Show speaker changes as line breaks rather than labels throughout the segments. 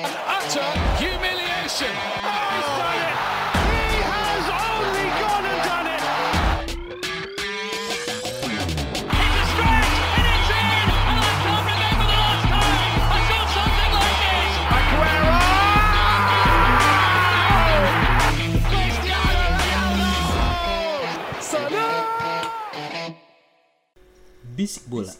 utter humiliation.
Bisik bola.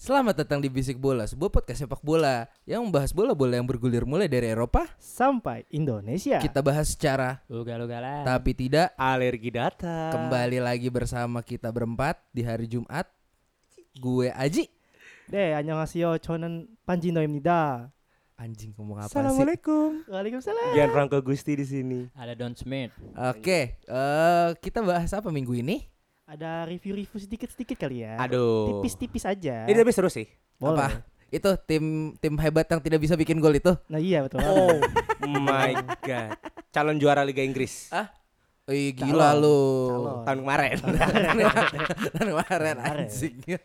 Selamat datang di Bisik Bola, sebuah podcast sepak bola yang membahas bola-bola yang bergulir mulai dari Eropa.
sampai Indonesia.
Kita bahas secara
ugal-ugalan.
tapi tidak
alergi data.
kembali lagi bersama kita berempat di hari Jumat. Gue Aji.
Deh, annyeonghaseyo chonen panjinoimnida.
Anjing ngomong apa sih?
Assalamualaikum. Waalaikumsalam.
Gianfranco Gusti di sini.
Ada Don Smith.
Oke, eh, kita bahas apa minggu ini?
Ada review-review sedikit-sedikit kali ya.
Aduh.
Tipis-tipis aja.
Ini tapi seru sih.
Apa?
Boleh.
Itu tim tim hebat yang tidak bisa bikin gol itu.
Nah iya betul.
Oh my god. Calon juara Liga Inggris
Ah. Ih, gila
Calon,
lu.
calon.
tahun kemarin.
Tahun kemarin anjing.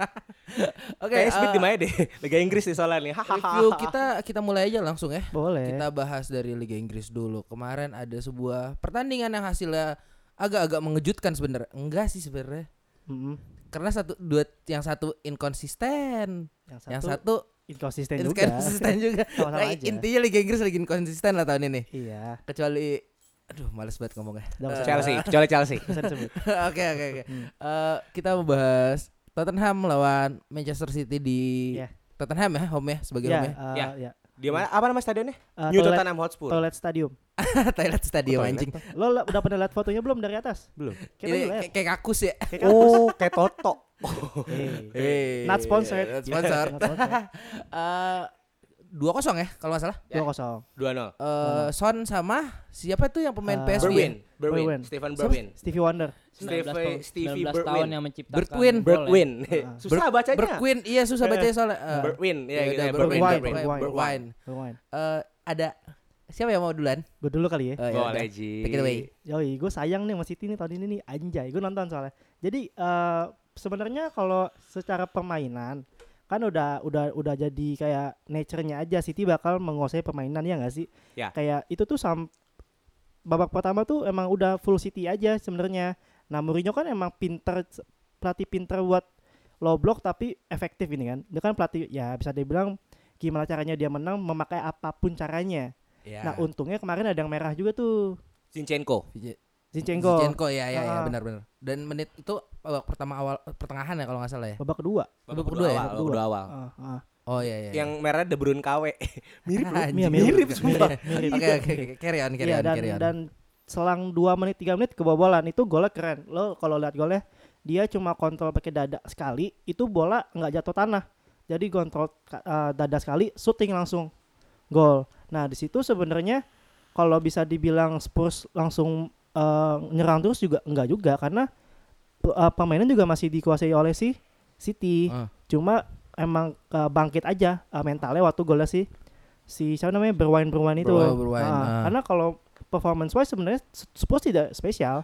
Oke,
Kayak speed
eh,
di mana deh. Liga Inggris nih soalnya nih.
review kita kita mulai aja langsung ya.
Boleh.
Kita bahas dari Liga Inggris dulu. Kemarin ada sebuah pertandingan yang hasilnya agak-agak mengejutkan sebenarnya. Enggak sih sebenarnya.
Mm-mm.
Karena satu dua yang satu inkonsisten,
Yang satu,
yang satu
inkonsisten juga.
inkonsisten juga.
Sama-sama
Nah,
aja.
intinya Liga Inggris lagi inkonsisten lah tahun ini.
iya.
Kecuali aduh males banget ngomongnya.
Udah, nggak usah.
Eh, Chelsea, kecuali Chelsea.
Nggak usah disebut.
Oke oke oke.
Hmm.
Eh, kita membahas Tottenham lawan Manchester City di
Iya.
Tottenham ya, home ya sebagai
Ya,
home ya.
eh,
Ya.
ya.
Di mana? Apa nama stadionnya?
Eh,
New
toilet-
Tottenham Hotspur.
Toilet stadium.
Thailand Stadium
Toilet.
Iya, anjing.
Lo la- udah pernah lihat fotonya belum dari atas?
Belum.
Oh, Kita
Ini
lihat.
kayak- kayak kakus ya.
Kayak kampus.
Oh, kayak Toto.
Eh,
Eh,
Not sponsored.
Not sponsored.
Not sponsored.
Eh, Dua kosong ya kalau nggak salah.
Dua kosong.
2-0.
Eh, Son sama siapa tuh yang pemain
Eh,
PSV?
Berwin,
ya?
Berwin.
Berwin, Stephen Berwin.
Stevie Wonder.
19,
Stevie-
tahun-
Stevie
19
Berwin.
tahun yang menciptakan
Berkwin.
gol ya.
Berwin. Susah bacanya.
Berquin, iya susah bacanya soalnya. Eh,
Berwin, ya
ya
gitu
udah,
ya,
Berwin,
Berwin,
Berwin,
Berwin.
Berwin.
Lumayan.
Eh, ada siapa yang mau duluan?
Gue dulu
Eh,
kali ya.
ya udah.
Boleh, Ji.
Take it away.
Yoi, gue sayang nih sama City nih tahun ini nih anjay, gue nonton soalnya. Jadi eh sebenarnya kalau secara permainan kan udah udah udah jadi kayak nature-nya aja City bakal menguasai permainan ya nggak sih?
Ya.
Kayak itu tuh sam babak pertama tuh emang udah full City aja sebenarnya. Nah Mourinho kan emang pinter pelatih pinter buat low block tapi efektif ini kan. Dia kan pelatih ya bisa dibilang gimana caranya dia menang memakai apapun caranya.
Ya.
Nah untungnya kemarin ada yang merah juga tuh.
Zinchenko.
Vij-
Zinchenko.
Zinchenko, ya ya ya
Ah.
benar-benar. Dan menit itu babak pertama awal pertengahan ya kalau nggak salah ya.
babak kedua.
Babak kedua ya?
awal, babak kedua awal.
Ah, ah.
Oh iya iya.
Yang merah De Bruyne KW. Mirip loh.
Anjing.
Iya,
Mirip
Mirip,
sumpah.
mirip.
Oke oke oke. carry on carry
Iya,
on
dan,
carry on.
dan selang 2 menit 3 menit kebobolan itu golnya keren. Lo kalau lihat golnya dia cuma kontrol pakai dada sekali, itu bola nggak jatuh tanah. Jadi kontrol ka- eh, dada sekali, shooting langsung gol. Nah, di situ sebenarnya kalau bisa dibilang Spurs langsung eh, nyerang terus juga enggak juga karena eh, permainan juga masih dikuasai oleh si City.
Ah.
Cuma emang eh, bangkit aja eh, mentalnya waktu golnya si si siapa namanya berwain berwain itu.
Berwain, Berwain,
Ah,
ah.
Karena kalau performance wise sebenarnya Spurs tidak spesial.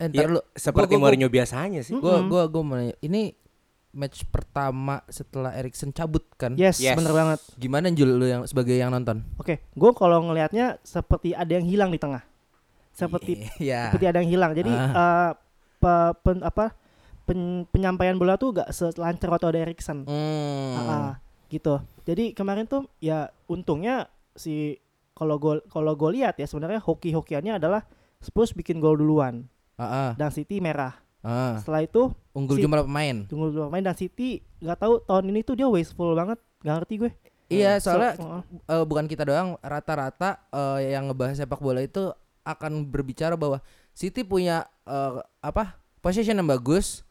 Eh,
Ya,
ntar lu.
seperti
Gua- Hmm? gua-
Mourinho biasanya sih.
Gue
Mm-mm.
gue gue mau nanya, ini match pertama setelah Erikson cabut kan?
Yes,
Yes.
bener banget.
Gimana Jul lu yang sebagai yang nonton?
Oke, gue kalau ngelihatnya seperti ada yang hilang di tengah. Seperti
ya.
seperti ada yang hilang. Jadi eh, pe- pen- apa pen- penyampaian bola tuh gak selancar waktu ada Erikson.
Hmm.
Ah, ah, gitu. Jadi kemarin tuh ya untungnya si kalau gol kalau gue lihat ya sebenarnya hoki-hokiannya adalah Spurs bikin gol duluan
Ah, ah,
dan City merah.
ah.
Setelah itu
Unggul
Si-
jumlah pemain.
tunggu dulu main dan City nggak tahu tahun ini tuh dia wasteful banget nggak ngerti gue.
Iya,
So-
soalnya
heeh.
eh, bukan kita doang, rata-rata eh, yang ngebahas sepak bola itu akan berbicara bahwa City punya eh, apa? Possession yang bagus,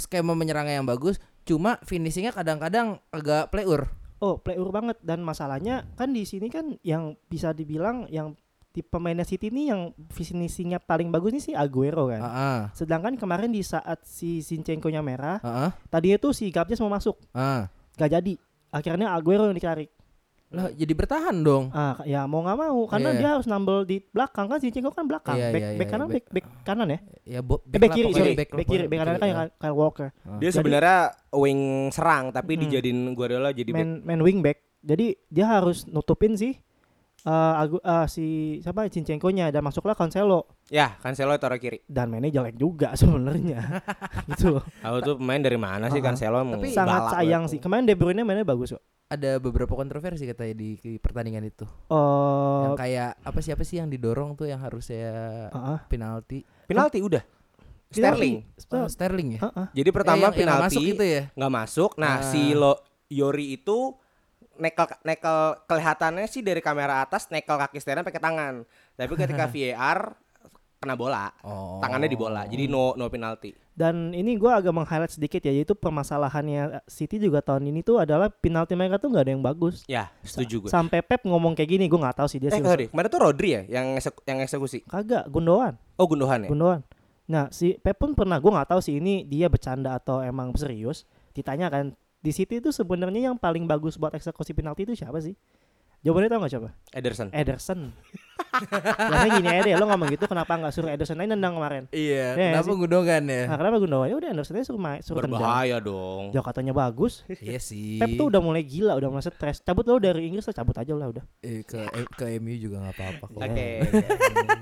skema menyerangnya yang bagus, cuma finishingnya kadang-kadang agak player.
oh player banget dan masalahnya kan di sini kan yang bisa dibilang yang di pemainnya City ini yang finishingnya paling bagus nih si Aguero kan.
Heeh.
Sedangkan kemarin di saat si Zinchenko-nya merah,
Heeh.
tadinya tuh si Gabjes mau masuk,
Ah.
gak jadi. Akhirnya Aguero yang dicari.
Lah, jadi bertahan dong.
Ah, ya mau nggak mau karena
Iya.
dia harus nambel di belakang kan Zinchenko kan belakang,
Iya,
back,
iya,
back
iya,
kanan,
back-
back, back kanan ya,
Ya bo-
eh,
lah
back kiri,
pokoknya,
sorry,
back-
back, kiri, back kanan kan
ya.
yang Kyle Walker,
Dia
Jadi-
sebenarnya wing serang tapi
Mm-mm.
Hmm.
dijadiin Guardiola jadi back.
main main wing back, Jadi dia harus nutupin sih eh, Agu- eh, si siapa Cincenko-nya dan masuklah Cancelo
Ya, Cancelo taruh kiri.
dan mainnya jelek juga sebenarnya. gitu loh.
Aku tuh pemain dari mana sih
Uh-uh.
Cancelo? emang
Tapi
balak
Sangat
banget.
sayang sih. Kemarin De Bruyne mainnya bagus kok.
Ada beberapa kontroversi katanya di, di pertandingan itu.
Eh,
yang kayak apa siapa sih yang didorong tuh yang harus saya
ah, ah.
penalti?
Penalti udah. Sterling.
Oh, Sterling ya?
Ah, ah.
Jadi pertama
Eh, yang- yang nggak
penalti
masuk itu ya.
nggak masuk. Nah,
Ah.
si Lo Yori itu nekel nekel kelihatannya sih dari kamera atas nekel kaki Sterling pakai tangan. Tapi ketika VAR kena bola,
Oh.
tangannya di bola. Jadi no no penalti.
Dan ini gua agak meng-highlight sedikit ya, yaitu permasalahannya eh, City juga tahun ini tuh adalah penalti mereka tuh nggak ada yang bagus.
Ya, setuju gue.
Sampai Pep ngomong kayak gini, gua nggak tahu sih dia
Eh,
sih.
nggak deh. Kemarin tuh Rodri ya yang eksek- yang eksekusi.
Kagak, Gundogan,
Oh, Gundogan ya.
Gundogan. Nah si Pep pun pernah, gua nggak tahu sih ini dia bercanda atau emang serius. Ditanya kan di City itu sebenarnya yang paling bagus buat eksekusi penalti itu siapa sih? Jawabannya tau nggak siapa?
Ederson.
Eh, Ederson. Karena gini aja deh, lo ngomong gitu kenapa nggak suruh Ederson aja nendang kemarin?
Iya,
Ya,
kenapa
sih.
Gundogan ya?
Ah.
Nah, kenapa Gundogan? Ya udah Ederson aja suruh, ma- suruh tendang.
Iya. Berbahaya dong.
Dia katanya bagus,
Iya sih.
Pep tuh udah mulai gila, udah merasa stres. Cabut lo dari Inggris lah, cabut aja lah udah.
Eh, ke ke MU juga nggak apa-apa kok.
Oke.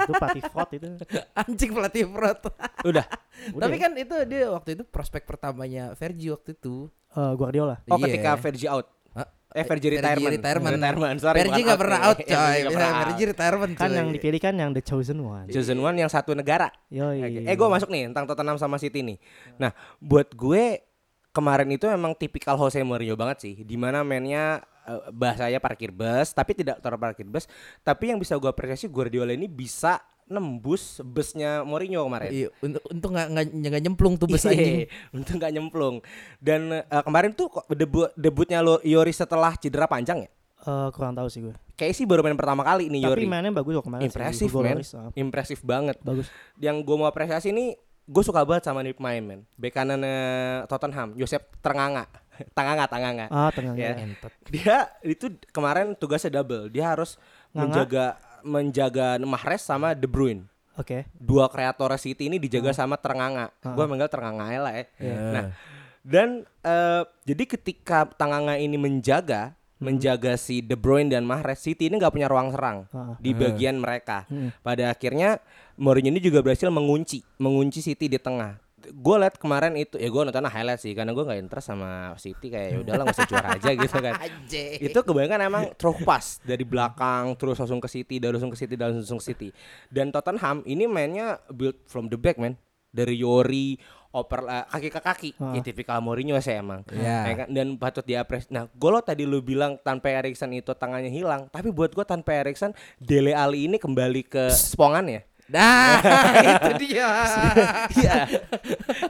itu pelatih fraud itu.
Anjing pelatih fraud.
Udah.
Udah
Tapi
ya.
kan itu dia waktu itu prospek pertamanya Vergi waktu itu.
Eh, Guardiola.
Oh,
Iya.
ketika Vergi out.
Hah?
Eh, Vergi retirement.
retirement.
Retirement, sorry.
Vergi
bukan
nggak pernah out
Vergi
coy.
nggak pernah out.
Vergi retirement
Kan
coy.
yang dipilih kan yang the chosen one.
Chosen one yang satu negara.
Yoi.
Oke. Eh gue masuk nih tentang Tottenham sama City nih. Nah buat gue kemarin itu emang tipikal Jose Mourinho banget sih. Dimana mainnya eh, bahasanya parkir bus tapi tidak terparkir bus. Tapi yang bisa gue apresiasi Guardiola ini bisa nembus busnya Mourinho kemarin.
Iya, untung- untung nggak nggak nggak nyemplung tuh bus
Iya,
anjing.
Untung gak nyemplung. Dan eh, kemarin tuh kok debu debutnya lo Yori setelah cedera panjang ya.
Eh, kurang tahu sih gue.
Kayaknya sih baru main pertama kali nih
Tapi
Yori.
mainnya bagus kok kemarin. sih,
Impresif
Hugo
men.
Lloris, ah,
Impresif banget.
Bagus.
yang gue mau apresiasi ini gue suka banget sama nih pemain men bek kanan eh, Tottenham Josep Ternganga Tanganga Tanganga
Ah, tengah
Ya.
ya.
dia itu kemarin tugasnya double dia harus
Nganga.
menjaga menjaga Mahrez sama De Bruyne
Oke.
dua kreator City ini dijaga sama Ternganga
Ah.
gue manggil Ternganga aja lah ya
Iya.
nah dan eh, jadi ketika Tanganga ini menjaga
Hmm.
menjaga si De Bruyne dan Mahrez City ini nggak punya ruang serang
Ah.
di bagian mereka.
Hmm.
Pada akhirnya Mourinho ini juga berhasil mengunci, mengunci City di tengah. Gue liat kemarin itu, ya gue nonton highlight sih, karena gue nggak interest sama City kayak ya udahlah nggak usah juara aja gitu kan. itu kebanyakan emang throw pass dari belakang terus langsung ke City, dari langsung ke City, dari langsung ke City. Dan Tottenham ini mainnya build from the back man, dari Yori oper eh, kaki ke kaki,
Ah.
ya tipikal Mourinho sih emang.
Iya.
Ya kan? Dan patut diapres. Nah, golo tadi lu bilang tanpa Erikson itu tangannya hilang, tapi buat gua tanpa Erikson Dele Ali ini kembali ke ya? sepongannya.
Nah, itu dia.
Iya.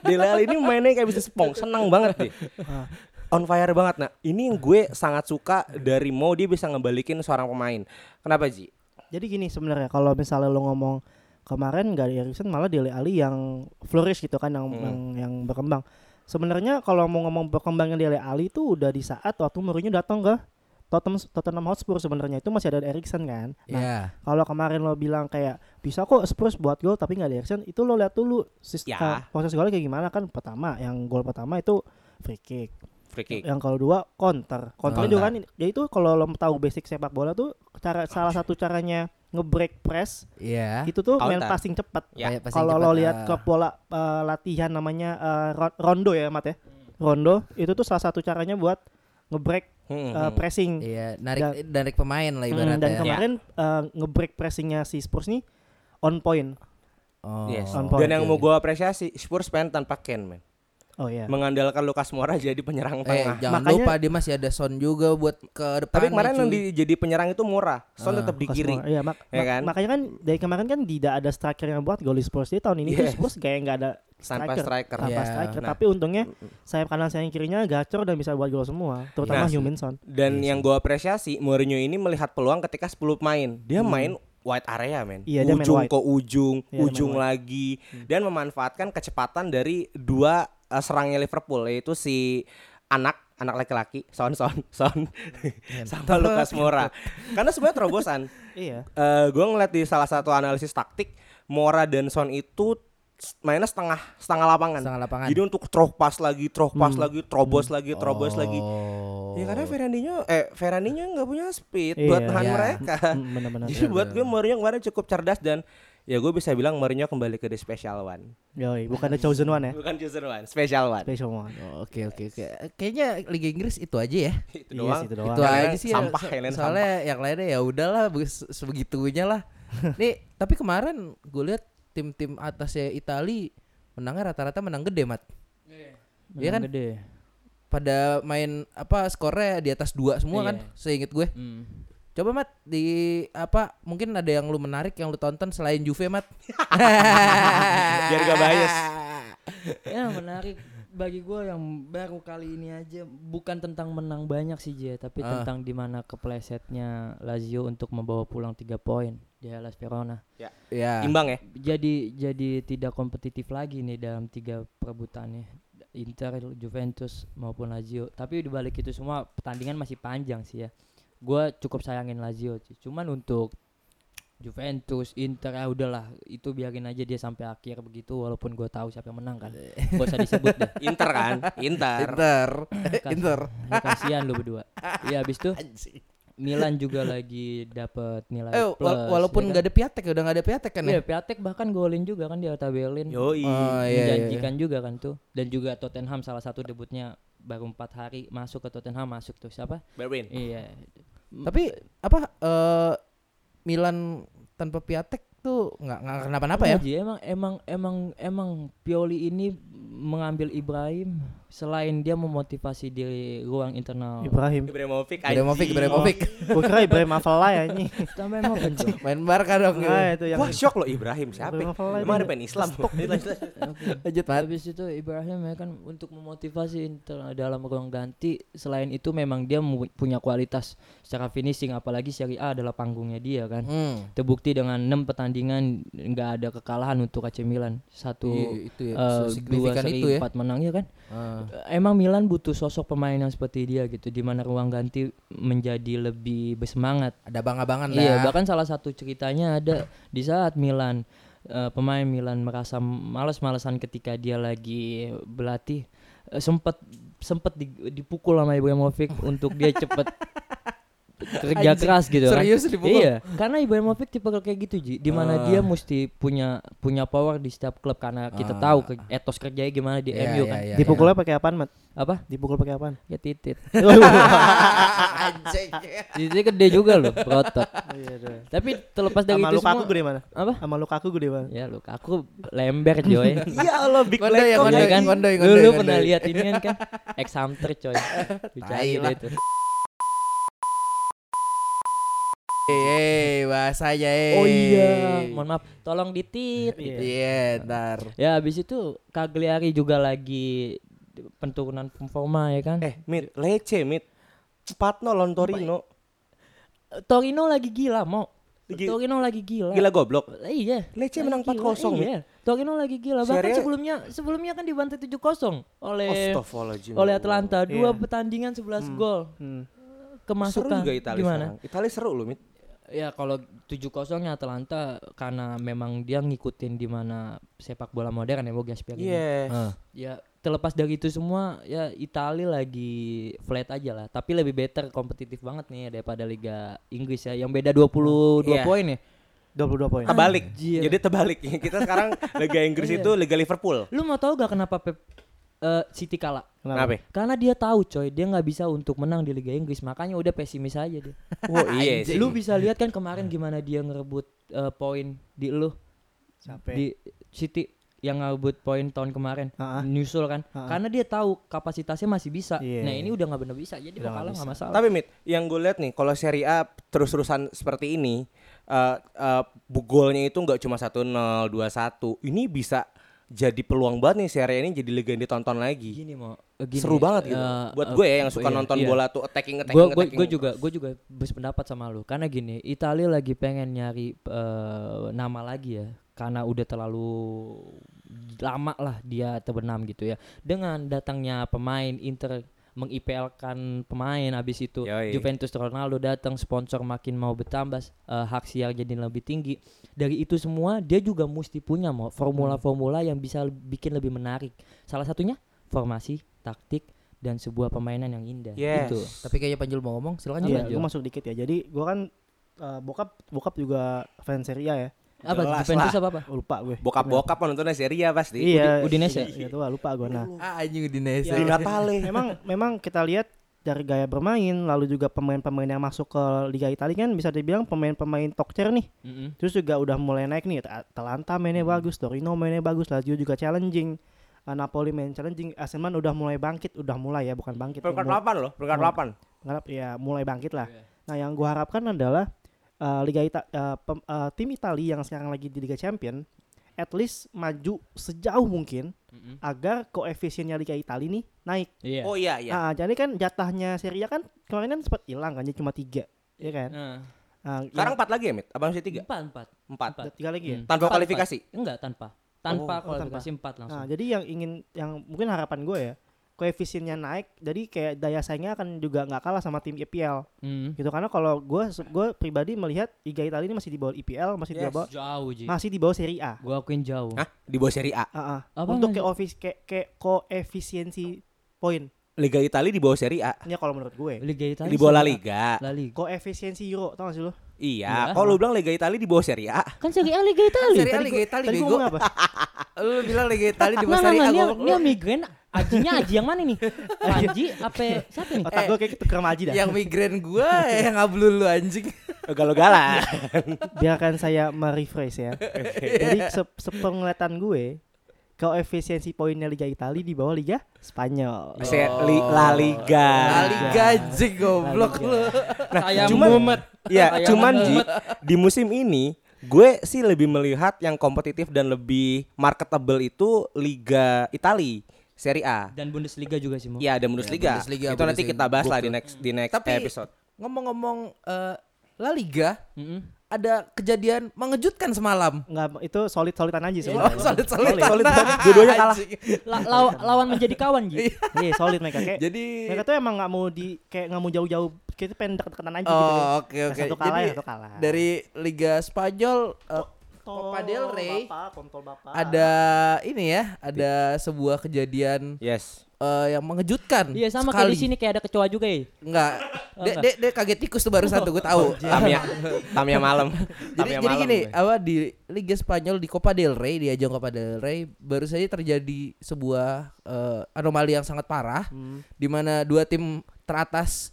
Dele Alli ini mainnya kayak bisa sepong, senang banget deh.
Ah.
On fire banget. Nah, ini yang gue sangat suka dari Mo dia bisa ngebalikin seorang pemain. Kenapa, Ji?
Jadi gini sebenarnya kalau misalnya lo ngomong kemarin gak ada Erikson malah Dele Alli yang flourish gitu kan yang
Hmm.
yang, yang berkembang. Sebenarnya kalau mau ngomong perkembangan Dele Alli itu udah di saat waktu Mourinho datang ke Tottenham, Tottenham Hotspur sebenarnya itu masih ada Erikson kan. Nah,
Iya.
kalau kemarin lo bilang kayak bisa kok Spurs buat gol tapi nggak ada action itu lo lihat dulu sis-
Ya.
eh, proses golnya kayak gimana kan pertama yang gol pertama itu free kick,
Free kick.
yang kedua counter counter juga kan ya itu kalau lo tahu basic sepak bola tuh cara salah satu caranya ngebreak press
Iya.
itu tuh main
Counter.
passing cepat
Ya.
Kayak passing
kalau
cepat,
lo
ah.
lihat ke pola eh, latihan namanya eh, ro- rondo ya mat ya rondo itu tuh salah satu caranya buat ngebreak
Hmm,
eh,
hmm.
pressing
Iya, narik
Dan-
narik pemain lah
Hmm,
ibaratnya. ya.
ya.
dan kemarin eh, ngebreak pressingnya si Spurs nih on point
Oh.
Yes.
on point. iya.
Dan yang mau gue apresiasi Spurs pengen tanpa Ken, men.
Oh iya.
Mengandalkan Lukas Moura jadi penyerang
Eh,
tengah.
jangan
Makanya-
lupa dia masih ada Son juga buat ke depan.
Tapi kemarin yang di- jadi penyerang itu Moura. Son tetap di
Lukas
kiri.
Moura. Iya, mak
Ya
mak-
kan?
makanya kan dari kemarin kan tidak ada striker yang buat gol di Spurs. Jadi tahun ini tuh
Yes.
Spurs kayak nggak ada
Tanpa
striker.
striker.
Tanpa
Iya.
striker.
Nah.
Tapi untungnya sayap kanan sayap kirinya gacor dan bisa buat gol semua, terutama
Nah.
Huminson.
Dan yang gue apresiasi Mourinho ini melihat peluang ketika 10 pemain Dia main wide area men
Iya, dia main
Ujung
wide.
ke ujung
Iya, dia main
Ujung
wide. Hmm.
lagi Dan memanfaatkan kecepatan dari dua eh, serangnya Liverpool Yaitu si anak anak laki-laki son son son sama Lukas Moura karena sebenarnya terobosan
Iya.
gue Eh, ngeliat di salah satu analisis taktik Moura dan Son itu s- mainnya setengah setengah lapangan
Setengah lapangan.
jadi untuk throw pass lagi throw pass lagi terobos lagi terobos lagi Ya karena Ferrandinho eh Ferrandinho nggak punya speed
Iya.
buat tahan
Iya.
mereka.
Mm, benar-benar.
Jadi buat gue Mourinho kemarin cukup cerdas dan ya gue bisa bilang Mourinho kembali ke the special one.
Yoi, bukan the chosen one ya.
Bukan chosen one, special one.
Special one.
Oh, Oke oke oke. Kayaknya Liga Inggris itu aja ya.
Iya
Itu doang.
sih, itu doang.
Itu
Karena
aja sih. ya.
Sampah,
So-
ya, Len,
Soalnya yang lainnya ya udahlah be- se- sebegitunya lah. Nih, tapi kemarin gue lihat tim-tim atasnya Itali menangnya rata-rata menang gede, Mat. Iya kan?
Gede.
Pada main apa skornya di atas dua semua kan,
Iya.
seinget gue.
Hmm.
Coba Mat di apa mungkin ada yang lu menarik yang lu tonton selain Juve, Mat.
Biar gak bias.
Ya menarik bagi gue yang baru kali ini aja bukan tentang menang banyak sih Jay, tapi
Ah.
tentang dimana keplesetnya Lazio untuk membawa pulang tiga poin di Hellas Verona.
Ya.
Imbang ya.
Jadi jadi tidak kompetitif lagi nih dalam tiga perebutannya Inter, Juventus maupun Lazio. Tapi di balik itu semua pertandingan masih panjang sih ya. Gue cukup sayangin Lazio sih. Cuman untuk Juventus, Inter, ya udahlah itu biarin aja dia sampai akhir begitu walaupun gue tahu siapa yang menang kan. Gak usah disebut deh.
Inter kan, Inter.
Inter.
Kas-
Inter.
Ya, kasihan lu berdua. Iya habis tuh
Anjing.
Milan juga lagi dapat nilai
Eh, wa-
Kan. plus.
walaupun
ya
nggak ada piatek ya udah nggak ada piatek kan
kan?
ya?
Iya, Piatek bahkan golin juga kan di Hertha Berlin.
Yoi.
Oh, iya, iya, iya.
Menjanjikan juga kan tuh. Dan juga Tottenham salah satu debutnya baru empat hari masuk ke Tottenham masuk tuh siapa?
Berwin.
Iya.
Tapi apa eh Milan tanpa Piatek tuh nggak nggak kenapa-napa ya?
Iya, Ji, emang emang emang emang Pioli ini mengambil Ibrahim selain dia memotivasi di ruang internal.
Ibrahim.
Ibrahimovic.
Ibrahimovic,
anjing.
Ibrahimovic
Gue kira Ibrahim Afala ya ini.
Tambah emang bener.
main Barca dong.
Ah, itu yang
Wah shock loh Ibrahim siapa? ya?
Ibrahim Afala
Emang ada
itu.
pengen Islam.
Lanjut Mat.
Habis itu Ibrahim ya kan untuk memotivasi Inter dalam ruang ganti selain itu memang dia mu- punya kualitas secara finishing apalagi Serie A adalah panggungnya dia kan.
Hmm.
Terbukti dengan 6 pertandingan nggak ada kekalahan untuk AC Milan. Satu
Iya, itu ya,
eh, dua
sesignifikan
seri
itu ya.
empat menang ya kan.
Ah.
Emang Milan butuh sosok pemain yang seperti dia gitu di mana ruang ganti menjadi lebih bersemangat
Ada bang-abangan lah.
Iya, bahkan salah satu ceritanya ada di saat Milan eh, pemain Milan merasa malas-malasan ketika dia lagi berlatih eh, sempat sempat di- dipukul sama Ibrahimovic untuk dia cepet kerja
Anjing,
keras gitu kan.
serius dipukul? Ah.
Iya, karena Ibrahimovic tipe kayak gitu Ji, di mana dia mesti punya punya power di setiap klub karena kita tahu ke- etos kerjanya gimana di
Ah. Iya,
MU
iya,
kan.
iya,
dipukulnya pakai apaan, Mat?
Apa?
Dipukul pakai apaan? Iya,
Ya titit.
Anjing.
Titiknya gede juga loh, berotot.
Iya, iya.
Tapi terlepas dari
Sama
itu
Lukaku
gitu semua.
gede mana?
Apa?
Sama Lukaku gede mana?
Ya lu aku lember coy.
Ya Allah Big
Kondoi ya,
Black.
Iya
kondoi,
kan?
kondoi,
Lu-
kondoi,
lu
kondoi.
pernah lihat ini kan kan? Ex hamster coy. Dicari
lah.
deh itu.
Eh, bahasanya eh.
Oh iya, mohon maaf. ya. Tolong ditit. gitu.
Iya.
Iya, ntar.
Ya habis itu Cagliari juga lagi penurunan performa ya kan.
Eh Mit, lece Mit. 4-0 lawan Torino.
Torino lagi gila mau.
Lagi-
Torino lagi gila.
Gila goblok.
Iya.
Lecce
Lagi
menang
gila,
4-0,
Iya. Torino lagi gila. Bahkan
Serie A-
sebelumnya sebelumnya kan dibantai 7-0 oleh
Astagfirullahaladzim.
oleh Atlanta. Dua
Iya.
pertandingan 11 gol.
Hmm.
Seru
Kemasukan.
juga Italia
kan? Gimana?
sekarang. Italia seru loh Mit.
Ya kalau 7-0 nya Atalanta karena memang dia ngikutin di mana sepak bola modern ya Bogas Piala ini.
Yes.
Ya terlepas dari itu semua ya Italia lagi flat aja lah, tapi lebih better kompetitif banget nih daripada Liga Inggris ya yang beda 22
Iya.
poin ya.
22 poin.
Terbalik.
Anjir.
Jadi terbalik. Kita sekarang Liga Inggris itu Liga Liverpool.
Lu mau tahu gak kenapa Pep eh, City kalah?
Kenapa?
Karena dia tahu coy, dia nggak bisa untuk menang di Liga Inggris, makanya udah pesimis aja dia.
Oh iya sih.
Lu bisa lihat kan kemarin gimana dia ngerebut eh, poin di lu.
Capek.
di City yang ngebut poin tahun kemarin
Ha-ha.
nyusul kan
Ha-ha.
karena dia tahu kapasitasnya masih bisa
Iya.
nah ini udah nggak bener bisa jadi
Udah
mau
nggak
kalah nggak
bisa.
masalah
Tapi Mit, yang gue lihat nih kalau Serie A terus-terusan seperti ini eh eh, bu- golnya itu nggak cuma 1-0, 2-1. Ini bisa jadi peluang banget nih Serie A ini jadi liga yang ditonton lagi.
gini mau eh, gini,
Seru banget gitu.
eh,
Buat
eh,
gue ya yang suka
iya,
nonton
iya.
bola tuh attacking attacking
gue
attacking.
juga gue juga berpendapat sama lu karena gini Italia lagi pengen nyari eh, nama lagi ya karena udah terlalu lama lah dia terbenam gitu ya dengan datangnya pemain Inter meng-IPL-kan pemain habis itu
Yoi.
Juventus Ronaldo datang sponsor makin mau bertambah eh, hak siar jadi lebih tinggi dari itu semua dia juga mesti punya mau formula-formula yang bisa bikin lebih menarik salah satunya formasi taktik dan sebuah permainan yang indah. Gitu.
Yes.
Itu. Tapi kayaknya Panjul mau ngomong, silakan
Iya,
Panjul.
gue masuk dikit ya. Jadi gue kan eh, bokap bokap juga fans Serie A ya.
Apa
Jelas
Juventus apa apa?
Oh, Lupa gue.
Bokap-bokap nontonnya Serie A pasti.
Iya.
Udi- Udinese. ya?
Iya tua, lupa gue. Nah,
Ah anjing Udinese.
Iya. memang memang kita lihat dari gaya bermain lalu juga pemain-pemain yang masuk ke Liga Italia kan bisa dibilang pemain-pemain top tier nih.
Mm-mm.
Terus juga udah mulai naik nih. Atalanta mainnya bagus, Torino mainnya bagus, Lazio juga challenging. eh, Napoli main challenging, AC Milan udah mulai bangkit, udah mulai ya bukan bangkit.
Peringkat
mul-
8 loh, peringkat
Mau-
8.
ngarap ya mulai bangkit lah. Nah, yang gua harapkan adalah uh, Liga Ita uh, pem- uh, tim Italia yang sekarang lagi di Liga Champion at least maju sejauh mungkin
Mm-mm.
agar koefisiennya Liga Italia nih naik.
Iya.
Oh iya iya.
Nah, jadi kan jatahnya Serie A kan kemarin kan sempat hilang kan jadi cuma tiga ya kan.
Nah,
Nah, yang-
Sekarang 4 lagi ya, Mit? Abang masih 3?
empat empat.
ada
4.
tiga lagi ya.
Hmm.
Tanpa
Empat,
kualifikasi?
empat. Enggak, tanpa. Tanpa
Oh, tanpa.
kualifikasi empat langsung.
Nah, jadi yang ingin yang mungkin harapan gue ya koefisiennya naik jadi kayak daya saingnya akan juga nggak kalah sama tim EPL
Mm.
gitu karena kalau gue gue pribadi melihat Liga Italia ini masih di bawah EPL masih di
Yes.
bawah
Jauh, Ji.
masih di bawah seri A.
Gua akuin jauh.
Hah? Di bawah Serie A.
Ah, ah.
Apa
Untuk ke
namanya?
office ke, ke koefisiensi poin.
Liga Italia di bawah Serie A.
Ini kalau menurut gue.
Liga Italia.
Di bawah La
sama-
Liga.
La Liga.
Koefisiensi euro, tau gak sih lu?
Iya,
Iya.
kalau lu bilang Liga Italia di bawah Serie A.
Kan Serie A Liga Italia.
Serie A Liga Italia
Tadi gue
bego.
ngomong apa?
Lu bilang Liga Italia di
Nah,
bawah
nah,
Serie
nah,
A.
dia,
goblok.
dia migrain ajinya aji yang mana nih? Panji apa siapa nih?
Otak gue kayak gitu keramaji dah.
Yang migrain gua yang ngablul lu anjing.
Galau-galau.
Biarkan saya merefresh ya. Jadi se sepenglihatan gue, koefisiensi poinnya Liga Italia di bawah Liga Spanyol.
Se- Li- La
Oh.
Liga.
La Liga anjing goblok
Liga.
lu.
Ah. Nah,
Saya
cuman
mumet.
ya,
Saya
cuman Ji,
mumet.
di musim ini gue sih lebih melihat yang kompetitif dan lebih marketable itu Liga Italia, Serie A.
Dan Bundesliga juga sih, Mo.
Iya, ada
Ya,
Bundesliga.
Bundesliga,
itu nanti
Bundesliga.
kita bahas lah di
Gokil.
next di next
Tapi
episode.
ngomong-ngomong eh, La Liga
Mm-mm.
ada kejadian mengejutkan semalam.
Enggak, itu solid-solidan aja sih.
Oh, solid solid
Solid banget, dua-duanya kalah.
La- law- lawan menjadi kawan, Ji.
Iya, solid mereka kayak.
Jadi
mereka tuh emang nggak mau di kayak nggak mau jauh-jauh kita pengen deket-deketan aja gitu.
Oh, oke
Nah,
oke.
Satu kalah,
Jadi
ya, satu kalah.
dari Liga Spanyol eh, Copa del Rey.
Bapak, kontol bapak.
ada ini ya, ada sebuah kejadian
Yes.
eh, yang mengejutkan.
Iya, sama kayak
sekali.
di sini kayak ada kecoa juga, ya.
Enggak.
Oh,
Dek
enggak.
dek dek kaget tikus tuh baru satu gue tahu.
Tamia Tamia malam.
Jadi,
Tamia
jadi
malam
gini,
gue.
apa di Liga Spanyol di Copa del Rey, di ajang Copa del Rey baru saja terjadi sebuah eh, anomali yang sangat parah
Hmm.
di mana dua tim teratas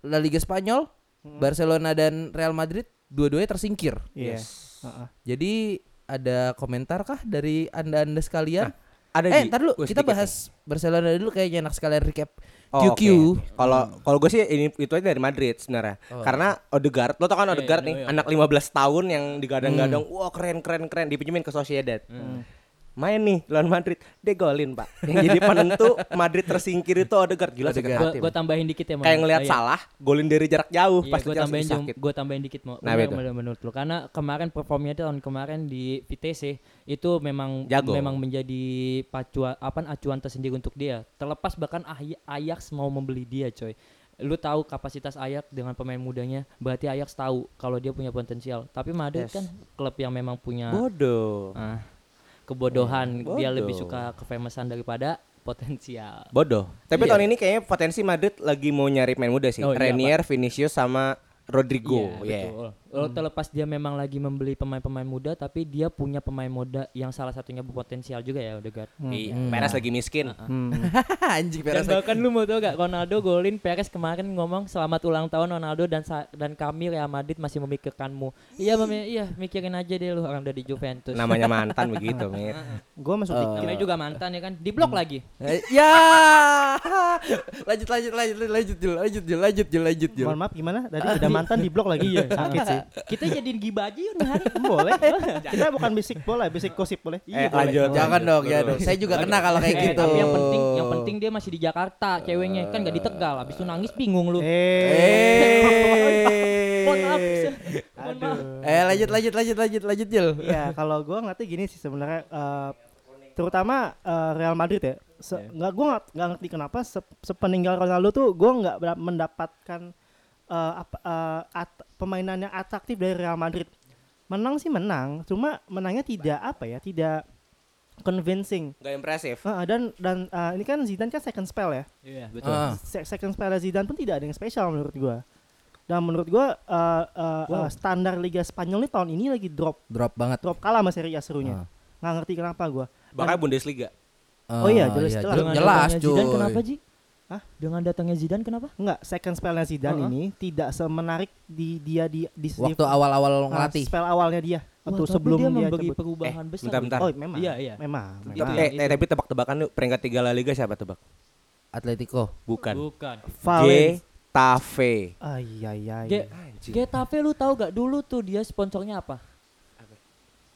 La Liga Spanyol,
Hmm.
Barcelona dan Real Madrid dua-duanya tersingkir.
Iya.
Yes.
Heeh.
Jadi ada komentar kah dari Anda-anda sekalian?
Ada
eh,
Ji,
ntar dulu
gue
kita
sedikit
bahas Barcelona dulu kayaknya enak sekalian recap
Oh,
QQ.
oke. Kalau kalau gue sih ini itu aja dari Madrid sebenarnya.
Oh.
Karena Odegaard, lo tau
Iya,
kan Odegaard nih, anak 15 tahun yang digadang-gadang,
Hmm.
wah keren keren keren dipinjemin ke Sociedad. Hmm. Main nih lawan Madrid, degolin Pak. Yang jadi penentu Madrid tersingkir itu Odegaard gila sakit
Odegaard.
Gua,
hati.
gua tambahin dikit ya, Mo.
Iya, Kayak ngelihat
Oh, iya.
salah, golin dari jarak jauh
Iya,
Uh, pasti
gue
Chelsea
tambahin jom,
sakit.
gue tambahin dikit mau.
Nah,
Bener,
betul.
bener menurut lo karena kemarin performnya tahun kemarin di VTC itu memang
Jago.
memang menjadi pacuan apa acuan tersendiri untuk dia. Terlepas bahkan Ay- Ajax mau membeli dia, coy. Lu tahu kapasitas Ajax dengan pemain mudanya, berarti Ajax tahu kalau dia punya potensial. Tapi Madrid
Yes.
kan klub yang memang punya
Bodoh.
ah, kebodohan.
Bodoh.
Dia lebih suka kefamousan daripada potensial.
Bodoh. Tapi tahun ini kayaknya potensi Madrid lagi mau nyari pemain muda sih.
Iya. Oh, iya,
Renier, Vinicius sama Rodrigo.
ya.
Iya,
Iya.
betul. Kalau
Hmm.
terlepas dia memang lagi membeli pemain-pemain muda, tapi dia punya pemain muda yang salah satunya berpotensial juga ya Odegaard.
Hmm.
Iya.
Hmm.
Perez lagi miskin.
Ah,
Anjing peres.
Iya.
Dan bahkan lu mau tau gak Ronaldo golin Perez kemarin ngomong selamat ulang tahun Ronaldo dan sa- dan kami Real Madrid masih memikirkanmu. Iya, memi- iya mikirin aja deh lu orang dari Juventus.
Namanya mantan begitu, Mit.
Gue masuk dikit.
Namanya juga mantan ya kan. Di blok
Hmm.
lagi.
Eh, ya. lanjut lanjut lanjut lanjut Jul, lanjut Jul, lanjut Jul, lanjut Jul.
Mohon maaf gimana? Tadi udah mantan di blok lagi. Ah, Iya, sakit sih.
Kita jadiin gibah aja yuk nih hari.
Boleh. Kita bukan bisik bola, bisik gosip Iya, boleh.
Eh, lanjut.
Jangan
lanjut,
dong, ya
terus.
dong. Saya juga kena kalau kayak
Eh,
gitu.
Tapi yang penting yang penting dia masih di Jakarta ceweknya kan
Eh.
gak di Tegal. Abis itu nangis bingung lu.
Eh.
Mohon maaf. Mohon maaf.
Eh, lanjut lanjut lanjut lanjut lanjut Jul.
Iya.
Ya, kalau gue ngerti gini sih sebenarnya eh, terutama eh, Real Madrid ya. Se nggak gue nggak nggak ngerti kenapa se- sepeninggal Ronaldo tuh gue nggak ber- mendapatkan eh, apa, eh, at- pemainan yang atraktif dari Real Madrid. Menang sih menang, cuma menangnya tidak apa ya, tidak convincing.
Gak impresif.
Ah, dan dan ah, ini kan Zidane kan second spell ya.
Iya, betul.
Ah,
Se- Second spell Zidane pun tidak ada yang spesial menurut gua. Dan menurut gua ah, ah, ah, standar Liga Spanyol nih tahun ini lagi drop
drop banget.
drop kalah sama Serie A serunya. Nggak ngerti kenapa gua.
Bahkan Bundesliga.
Ah,
Oh iya, jelas- jelas.
jelas,
Dengan
jelas
datangnya
cuy.
Zidane kenapa Ji?
Hah?
Dengan datangnya Zidane kenapa?
Enggak, second spellnya Zidane
Heeh.
ini tidak semenarik di dia di di
Ah, Waktu awal-awal
ah,
ngelatih.
spell awalnya dia
Wah,
waktu
tapi
sebelum
dia
dia,
membagi
cabut.
perubahan besar.
bentar, bentar.
Oh, memang.
Iya, iya.
Memang.
Itu
memang.
ya.
Eh, eh, tapi tebak-tebakan yuk peringkat tiga La Liga siapa tebak?
Atletico.
Bukan.
Bukan.
Valen.
Getafe.
Ay, ay, ay.
Ge- Getafe lu tahu gak dulu tuh dia sponsornya apa?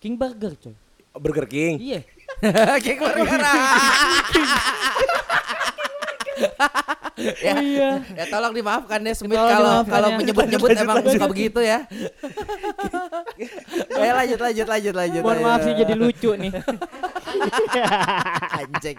King Burger coy.
Burger King.
Iya.
Kayak gara-gara.
Iya.
Ya tolong dimaafkan ya Smith
Tolong
kalau
dimaafkan
kalau
ya.
menyebut-nyebut
Lanjut,
emang
lanjut,
suka begitu ya. Ayo Eh, lanjut lanjut lanjut lanjut.
Mohon
lanjut.
maaf sih jadi lucu nih.
anjing.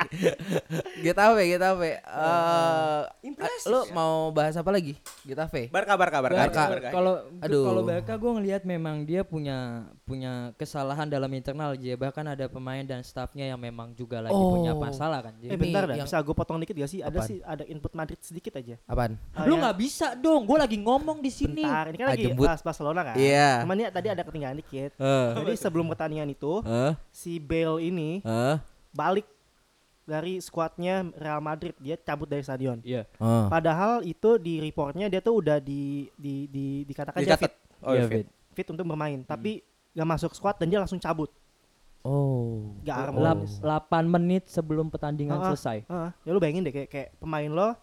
Getafe, Getafe. Eh lu
ya?
mau bahas apa lagi? Getafe.
Barca, Barca, Barca.
Barca.
Barca.
Kalau
Aduh.
kalau Barca gue ngelihat memang dia punya punya kesalahan dalam internal Ji. Bahkan ada pemain dan stafnya yang memang juga lagi
Oh.
punya masalah kan Ji.
Eh bentar dah,
yang-
bisa gue potong dikit gak sih? Ada
Apaan?
sih ada input Madrid sedikit aja.
Apaan?
Ah,
lu
ya.
nggak bisa dong, gue lagi ngomong di sini.
Bentar, ini kan
Ah,
lagi
jembut.
bahas Barcelona kan.
Iya.
Cuman ini tadi ada ketinggalan dikit.
Eh.
Jadi sebelum pertandingan itu,
Eh.
si Bale ini
Eh.
balik dari skuadnya Real Madrid, dia cabut dari stadion.
Iya.
Eh.
Padahal itu di reportnya dia tuh udah di di di dikatakan dia
Dicatat.
fit,
Oh, iya, fit.
fit untuk bermain,
Hmm.
tapi nggak masuk squad dan dia langsung cabut.
Oh.
Gak
Lap-
harmonis.
8 menit sebelum
Ah,
pertandingan
ah.
selesai.
Heeh. ya lu bayangin deh kayak, kayak pemain lo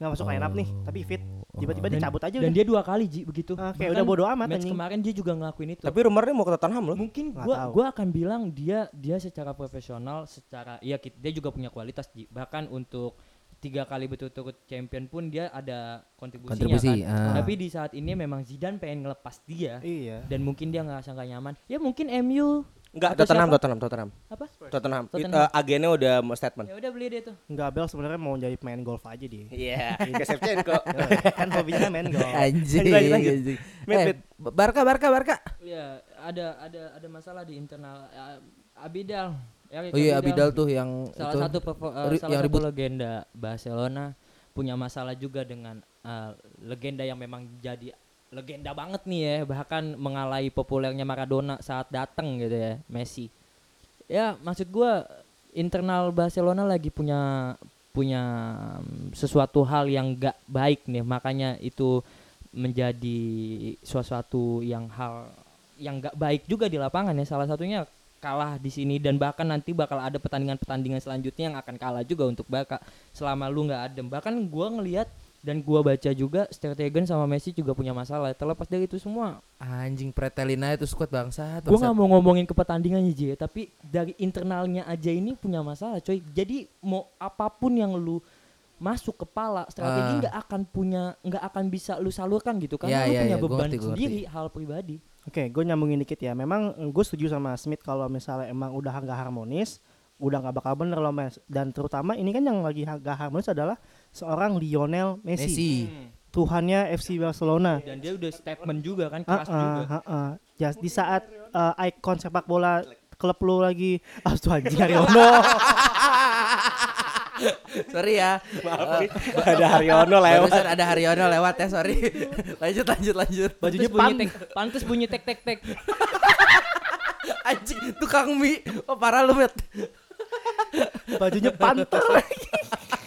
nggak masuk line up nih, tapi fit, tiba-tiba
Oh. Dan-
dicabut aja
Dan
udah.
dia dua kali Ji begitu.
Ah, kayak
Bahkan
udah bodo amat,
Match
anjing.
kemarin dia juga ngelakuin itu.
Tapi rumornya mau ke Tottenham loh.
mungkin
Nggak
gua
tahu.
gua akan bilang dia dia secara profesional secara ya ki- dia juga punya kualitas Ji. bahkan untuk tiga kali berturut-turut champion pun dia ada kontribusinya
Kontribusi, ah.
kan tapi di saat ini memang Zidane pengen ngelepas dia
Iya.
dan mungkin dia ngerasa nggak nyaman ya mungkin MU
Enggak,
Atau
Tottenham,
siapa?
Tottenham, Tottenham.
apa
Tottenham. It-
Tottenham.
eh, agennya udah mau statement.
ya udah beli deh tuh
Enggak, Bel sebenarnya mau jadi pemain golf aja dia.
Iya, ke Shevchenko.
kan hobinya main golf.
Anjing.
Lanjut, lanjut.
anjing.
Mit,
Eh,
mit.
Barca, Barca, Barca.
ya ada ada ada masalah di internal Ah, Abidal Eric
Oh iya Abidal tuh yang itu.
salah satu perfo- eh,
ri-
salah
yang
satu
ribut.
legenda Barcelona punya masalah juga dengan eh, legenda yang memang jadi legenda banget nih ya bahkan mengalahi populernya Maradona saat datang gitu ya Messi ya maksud gua internal Barcelona lagi punya punya mm, sesuatu hal yang gak baik nih makanya itu menjadi sesuatu yang hal yang gak baik juga di lapangan ya salah satunya kalah di sini dan bahkan nanti bakal ada pertandingan-pertandingan selanjutnya yang akan kalah juga untuk Barca selama lu nggak adem bahkan gua ngelihat dan gua baca juga Strategen sama Messi juga punya masalah terlepas dari itu semua
Anjing pretelina itu squad bangsat.
Gue
bangsat.
nggak mau ngomongin ke pertandingannya Ji, tapi dari internalnya aja ini punya masalah, coy. Jadi mau apapun yang lu masuk
Ah.
kepala, strategi nggak akan punya, nggak akan bisa lu salurkan gitu
Ya,
karena lu
ya,
punya
ya, gua
beban
ngerti, gua
sendiri, hal pribadi.
Oke, gue nyambungin dikit ya. Memang gue setuju sama Smith kalau misalnya emang udah nggak harmonis, udah nggak bakal bener loh Mas. Dan terutama ini kan yang lagi nggak harmonis adalah seorang Lionel Messi,
Messi.
Tuhannya FC Barcelona.
Dan dia udah statement juga kan,
Ah,
Iya, keras
ah,
juga.
ah, ah. Ya, di saat eh, ikon sepak bola klub lu lagi Astuanji Haryono
Sorry ya. Eh,
ada ya, Haryono lewat.
Barusan ada Haryono lewat ya, sorry. lanjut lanjut lanjut.
Bajunya bunyi tek, pantes bunyi tek tek tek.
Anjing tukang mie. Oh, parah lu, Met.
bajunya panter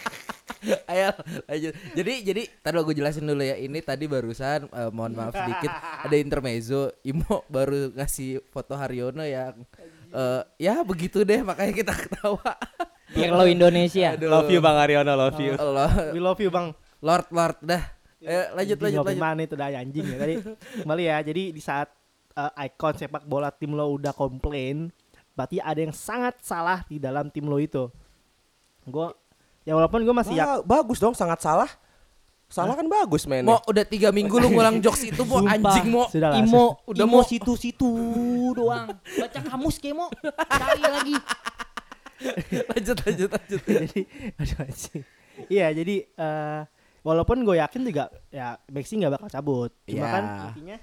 Ayo lanjut. Jadi jadi tadi gue jelasin dulu ya. Ini tadi barusan eh, mohon maaf sedikit ada intermezzo. Imo baru ngasih foto Haryono yang eh, ya begitu deh makanya kita ketawa.
Biar lo Indonesia.
Aduh.
Love you Bang Haryono, love you.
Allah.
we love you bang
Lord Lord dah. Eh, lanjut
Anjing,
lanjut
Iya. ngopi
lanjut.
mana itu dah anjing ya tadi kembali ya jadi di saat eh, ikon sepak bola tim lo udah komplain berarti ada yang sangat salah di dalam tim lo itu gue ya walaupun gue masih yakin
Wah, Ah, bagus dong, sangat salah. Salah kan bagus mainnya.
Mau udah tiga minggu lu ngulang jokes itu mau
Sumpah.
anjing mau.
Sudah lah,
Imo,
sudah. Udah
Imo
mau-
situ-situ doang. Baca kamus kemo, cari lagi.
Lanjut lanjut lanjut.
jadi aduh anjing iya jadi eh, walaupun gue yakin juga ya Messi nggak bakal cabut
Ya.
cuma kan intinya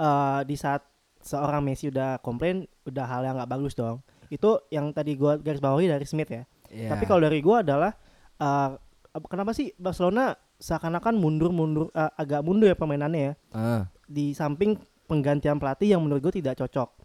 eh, di saat seorang Messi udah komplain udah hal yang nggak bagus dong Itu yang tadi gua garis bawahi dari Smith ya.
Iya.
Tapi kalau dari gua adalah eh, apa- kenapa sih Barcelona seakan-akan mundur-mundur eh, agak mundur ya permainannya ya
Ah,
di samping penggantian pelatih yang menurut gue tidak cocok.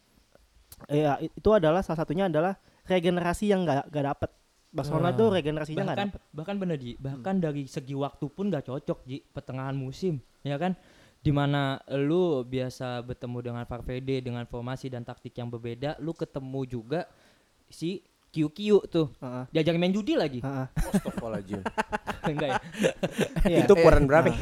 Ya, i- itu adalah salah satunya adalah regenerasi yang nggak nggak dapet. Barcelona
Ah.
tuh regenerasinya nggak
bahkan
dapet.
bahkan bener Ji bahkan dari segi waktu pun gak cocok Ji pertengahan musim ya kan dimana lu biasa bertemu dengan Farfede dengan formasi dan taktik yang berbeda lu ketemu juga si QQ tuh
Heeh.
diajarin main judi lagi
Heeh.
Astagfirullahaladzim.
enggak ya
Iya.
Itu koran berapa?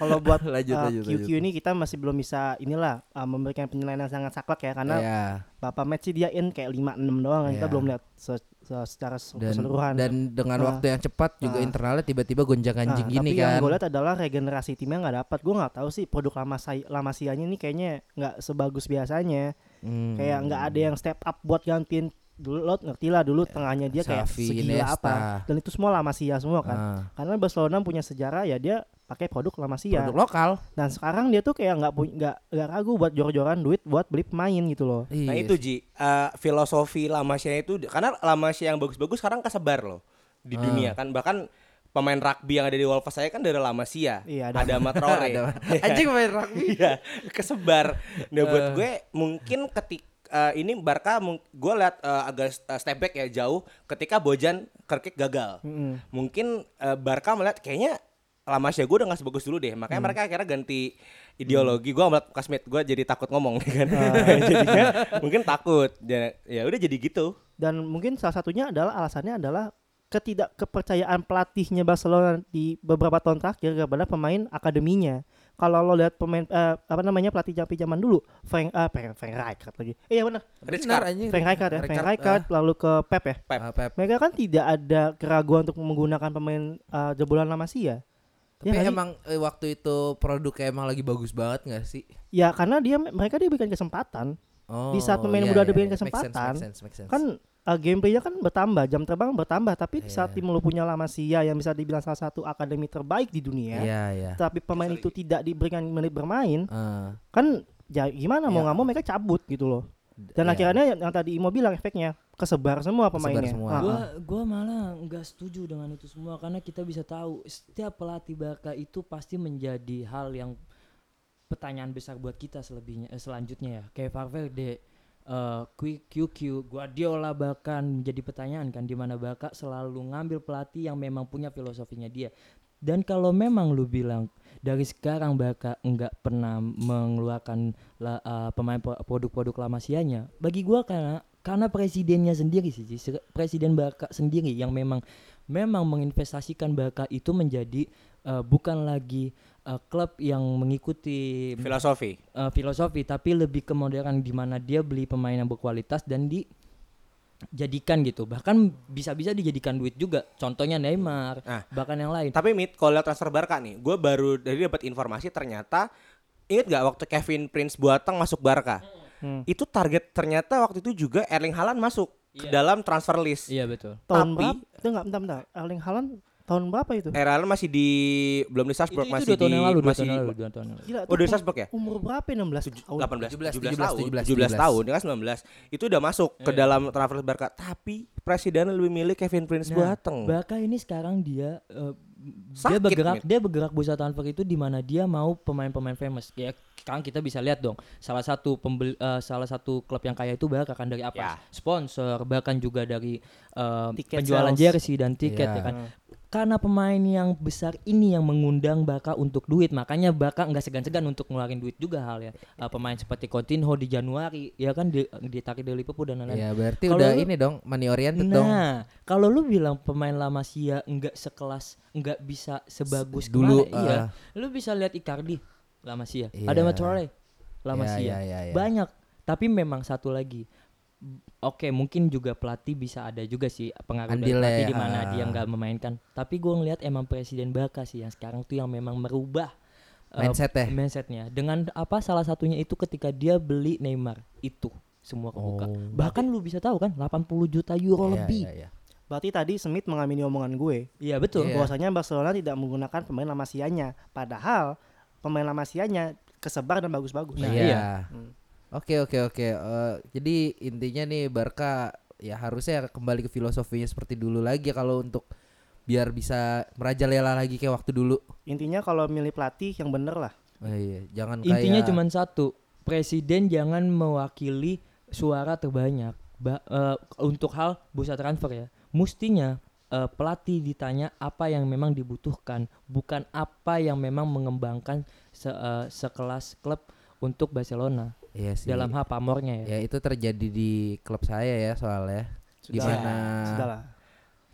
kalau buat
Lanjut,
uh,
lanjut,
QQ
lanjut.
ini kita masih belum bisa inilah uh, memberikan penilaian yang sangat saklek ya karena
iya.
bapak match sih dia in kayak 5-6 doang ya. kita
Iya.
belum lihat se- se- secara se-
dan
keseluruhan.
dan dengan
Ah.
waktu yang cepat juga
Ah.
internalnya tiba-tiba gonjang
Nah,
ganjing
tapi
gini kan.
yang gue lihat adalah regenerasi timnya nggak dapat. Gue nggak tahu sih produk lama say- Lamasianya ini kayaknya nggak sebagus biasanya.
Hmm. Eh,
kayak nggak ada yang step up buat gantiin dulu lo ngerti lah dulu tengahnya dia kayak
Xavi,
segila
Iniesta.
apa dan itu semua La Masia semua kan
Ah,
karena Barcelona punya sejarah ya dia pakai produk La Masia
Produk lokal.
dan sekarang dia tuh kayak nggak punya nggak nggak ragu buat jor-joran duit buat beli pemain gitu lolo
Nah
Iya.
itu Ji, eh, filosofi Lamasya itu karena Lamasya yang bagus-bagus sekarang kesebar loh di
Ah.
dunia kan bahkan pemain rugby yang ada di Wolves saya kan dari Lamasya.
Iya, ada-
ada Iya. Matrore.
Ada- Anjing main rugby.
Iya, kesebar. Nah, buat gue mungkin ketik eh, ini Barca mung- gue lihat eh, agak eh, step back ya jauh ketika Bojan Kerkik gagal.
Mm-mm.
Mungkin eh, Barca melihat kayaknya lama sih gue udah gak sebagus dulu deh. Makanya mereka akhirnya ganti ideologi. Gue melihat Kasmet gue jadi takut ngomong kan. Jadinya mungkin takut. Ya ya udah jadi gitu.
dan mungkin salah satunya adalah alasannya adalah ketidakkepercayaan pelatihnya Barcelona di beberapa tahun terakhir kepada pemain akademinya. Kalau lo lihat pemain eh, apa namanya pelatih Japi zaman dulu, Frank eh Frank, Frank Rijkaard lagi. Eh, iya benar.
Benar anjing.
Frank Rijkaard ya, Frank
Rijkaard, eh.
Rijkaard lalu ke Pep ya.
Pep.
ah, Pep.
Mereka kan tidak ada keraguan untuk menggunakan pemain eh, jebolan La Masia.
Tapi
Ya nggak sih?
emang eh, waktu itu produknya emang lagi bagus banget gak sih?
Ya karena dia mereka diberikan kesempatan.
Oh,
Di saat pemain
iya,
muda
iya, iya. Make
diberikan
sense, make
kesempatan,
sense, make sense.
Kan eh, gameplaynya kan bertambah, jam terbang bertambah. Tapi di saat
Iya.
tim lu punya La Masia yang bisa dibilang salah satu akademi terbaik di dunia.
Iya, iya.
Tapi pemain itu tidak diberikan menit bermain,
Ah,
kan ya gimana mau
Iya.
nggak mau mereka cabut gitu loh. Dan
iya.
akhirnya yang, yang tadi Imo bilang efeknya kesebar semua pemainnya.
semua.
Ah,
Gua-
ah.
gua gua malah nggak setuju dengan itu semua karena kita bisa tahu setiap pelatih Barca itu pasti menjadi hal yang pertanyaan besar buat kita selebihnya eh, selanjutnya ya kayak Valverde eh, Qui- QQ Guardiola bahkan menjadi pertanyaan kan di mana Barca selalu ngambil pelatih yang memang punya filosofinya dia dan kalau memang lu bilang dari sekarang Barca nggak pernah mengeluarkan la- eh, pemain pro- produk-produk lamasianya bagi gua karena karena presidennya sendiri sih Ji. Se- presiden Barca sendiri yang memang memang menginvestasikan Barca itu menjadi eh, bukan lagi eh, klub yang mengikuti
Filosofi.
eh, filosofi tapi lebih ke modern di mana dia beli pemain yang berkualitas dan dijadikan gitu bahkan bisa-bisa dijadikan duit juga contohnya Neymar
Ah.
bahkan yang lain
Tapi mit kalau lihat transfer Barca nih, gue baru dari dapat informasi ternyata inget nggak waktu Kevin Prince Boateng masuk Barca?
Hmm.
Itu target ternyata waktu itu juga Erling Haaland masuk ke dalam transfer list.
iya betul
Tahun
Tapi-
berapa? Itu enggak bentar bentar. Erling Haaland tahun berapa itu?
Eh,
Erling Haaland masih di belum di Salzburg,
itu,
masih
itu dua tahun
di
yang lalu dua
masih
tahun
di-
yang lalu dua tahun yang lalu
Gila
Oh,
tuh
dari
pem-
Salzburg ya?
Umur berapa ya? 16 tahun.
18 17,
17,
tahun
17,
17 tahun dia kan 19 itu udah masuk ke dalam transfer Barca tapi presiden lebih milih Kevin Prince
Nah,
Boateng
Barca ini sekarang dia eh, dia
Sakit,
bergerak
Mit.
dia bergerak bursa transfer itu di mana dia mau pemain-pemain famous. Ya sekarang kita bisa lihat dong. Salah satu pembel, eh, salah satu klub yang kaya itu Barca kan dari
Ya.
apa? Sponsor bahkan juga dari eh,
Tiket
penjualan
sales.
jersey dan tiket
Iya.
ya kan. Karena pemain yang besar ini yang mengundang Barca untuk duit, makanya Barca nggak segan-segan untuk ngeluarin duit juga hal ya. Eh, pemain seperti Coutinho di Januari ya kan di, ditarik dari Liverpool dan lain-lain.
kan
Iya, berarti
Kalau
udah
lu-
ini dong money oriented dong.
Nah, kalau lu bilang pemain La Masia nggak sekelas, nggak bisa sebagus
Se- dulu, ah.
kemarin, iya. Lu bisa lihat Icardi, La Masia.
Iya.
Ada Matorre, La
Iya,
Masia.
iya, iya, iya.
Banyak, tapi memang satu lagi. B- Oke, mungkin juga pelatih bisa ada juga sih pengaruh dari
Andilnya,
pelatih di mana
ah.
dia nggak memainkan. Tapi gua ngelihat emang Presiden Barca sih yang sekarang tuh yang memang merubah eh,
Mindset ya?
mindsetnya. Dengan apa salah satunya itu ketika dia beli Neymar itu semua kebuka.
Oh.
Bahkan lu bisa tahu kan 80 juta euro
Iya,
lebih.
iya, iya.
Berarti tadi Smith mengamini omongan gue.
Iya betul.
Iya.
Bahwasanya Barcelona tidak menggunakan pemain La Masia-nya. Padahal pemain La Masia-nya kesebar dan bagus-bagus.
Nah,
iya.
iya.
Oke oke oke. Eh, jadi intinya nih Barca ya harusnya ya kembali ke filosofinya seperti dulu lagi ya kalau untuk biar bisa merajalela lagi kayak waktu dulu.
Intinya kalau milih pelatih yang bener lah.
Oh, iya, jangan
Intinya
kayak
cuma satu, presiden jangan mewakili suara terbanyak Ba- eh, untuk hal bursa transfer ya. Mestinya eh, pelatih ditanya apa yang memang dibutuhkan, bukan apa yang memang mengembangkan se- eh, sekelas klub untuk Barcelona
Iya sih.
dalam hal pamornya ya.
ya itu terjadi di klub saya ya soalnya. Gimana?
Sudahlah.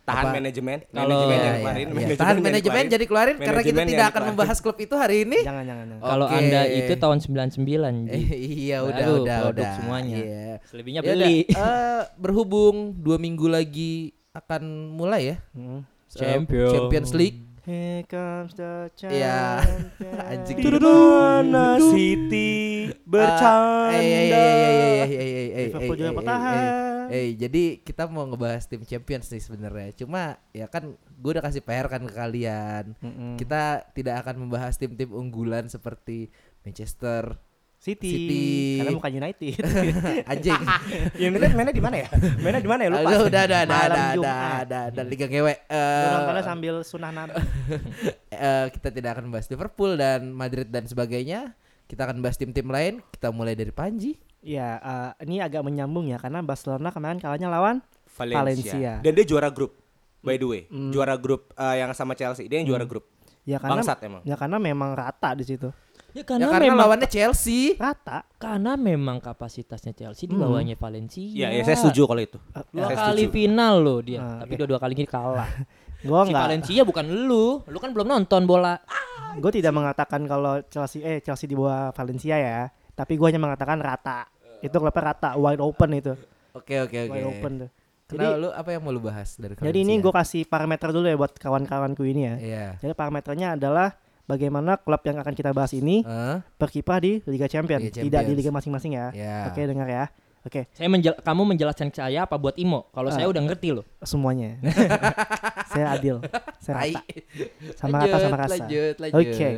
Tahan
Apa?
manajemen,
Kalau- Iya,
manajemen
Ya,
yang
ya,
kemarin,
ya.
manajemen
Tahan
yang
manajemen
dikeluarin.
jadi keluarin karena kita
Manajemen yang
tidak akan
dikeluarin.
membahas klub itu hari ini.
Jangan jangan jangan.
Kalau
Oke.
Anda itu tahun 99 Ji.
Eh, iya
Baru
udah udah
produk
udah
semuanya.
Iya.
Selebihnya
Ya udah,
beli.
eh, berhubung dua minggu lagi akan mulai ya eh,
Hmm.
Champions.
Champions League.
Here comes the
Iya.
champion.
Anjing.
Mana City bercanda.
Eh, eh, eh, eh, eh, eh, eh, eh, eh, eh,
Liverpool
eh,
juga
eh,
bertahan.
eh, eh, jadi kita mau ngebahas tim Champions nih sebenarnya. Cuma ya kan gue udah kasih PR kan ke kalian.
Mm-mm.
Kita tidak akan membahas tim-tim unggulan seperti Manchester
City.
City.
Karena bukan United.
anjing.
United mainnya di mana ya? Mainnya di mana ya? Lupa.
Aduh, udah udah udah
Eh, Malam
udah udah
Jumat.
udah udah Liga GW.
Lu
Eh,
Nontonnya sambil sunah nabi.
eh, kita tidak akan bahas Liverpool dan Madrid dan sebagainya. Kita akan bahas tim-tim lain. Kita mulai dari Panji.
Ya, eh, ini agak menyambung ya karena Barcelona kemarin kalahnya lawan
Valencia.
Valencia.
Dan dia juara grup. By the way, juara grup eh, yang sama Chelsea. Dia yang juara grup.
ya karena
Bangsat emang.
ya karena memang rata di situ.
Ya
Ya,
karena,
karena
memang
lawannya Chelsea.
Rata.
karena memang kapasitasnya Chelsea
Hmm.
di bawahnya Valencia.
Iya, ya, saya setuju kalau itu.
Dua
Saya
kali
setuju.
final loh dia,
Ah,
tapi dua-dua kali ini kalah.
Gua
si
enggak
Valencia bukan lu, lu kan belum nonton bola.
gue tidak mengatakan kalau Chelsea eh Chelsea di bawah Valencia ya, tapi gue hanya mengatakan rata. Itu klubnya rata, wide open itu,
Oke oke oke.
wide open tuh. Jadi
Kenapa lu apa yang mau lu bahas dari ya?
jadi ini gue kasih parameter dulu ya buat kawan-kawanku ini ya.
Iya.
Jadi parameternya adalah bagaimana klub yang akan kita bahas ini
Hah?
berkiprah di Liga Champions,
Eh. Liga
tidak di
Champions.
liga masing-masing ya.
Ya.
Oke, dengar ya. Oke,
Saya menjel- kamu menjelaskan ke saya apa buat Imo? Kalau
Ah.
saya udah ngerti loh.
semuanya. saya adil,
Tai.
saya rata, sama rata sama rasa.
Lanjut, lanjut.
Oke.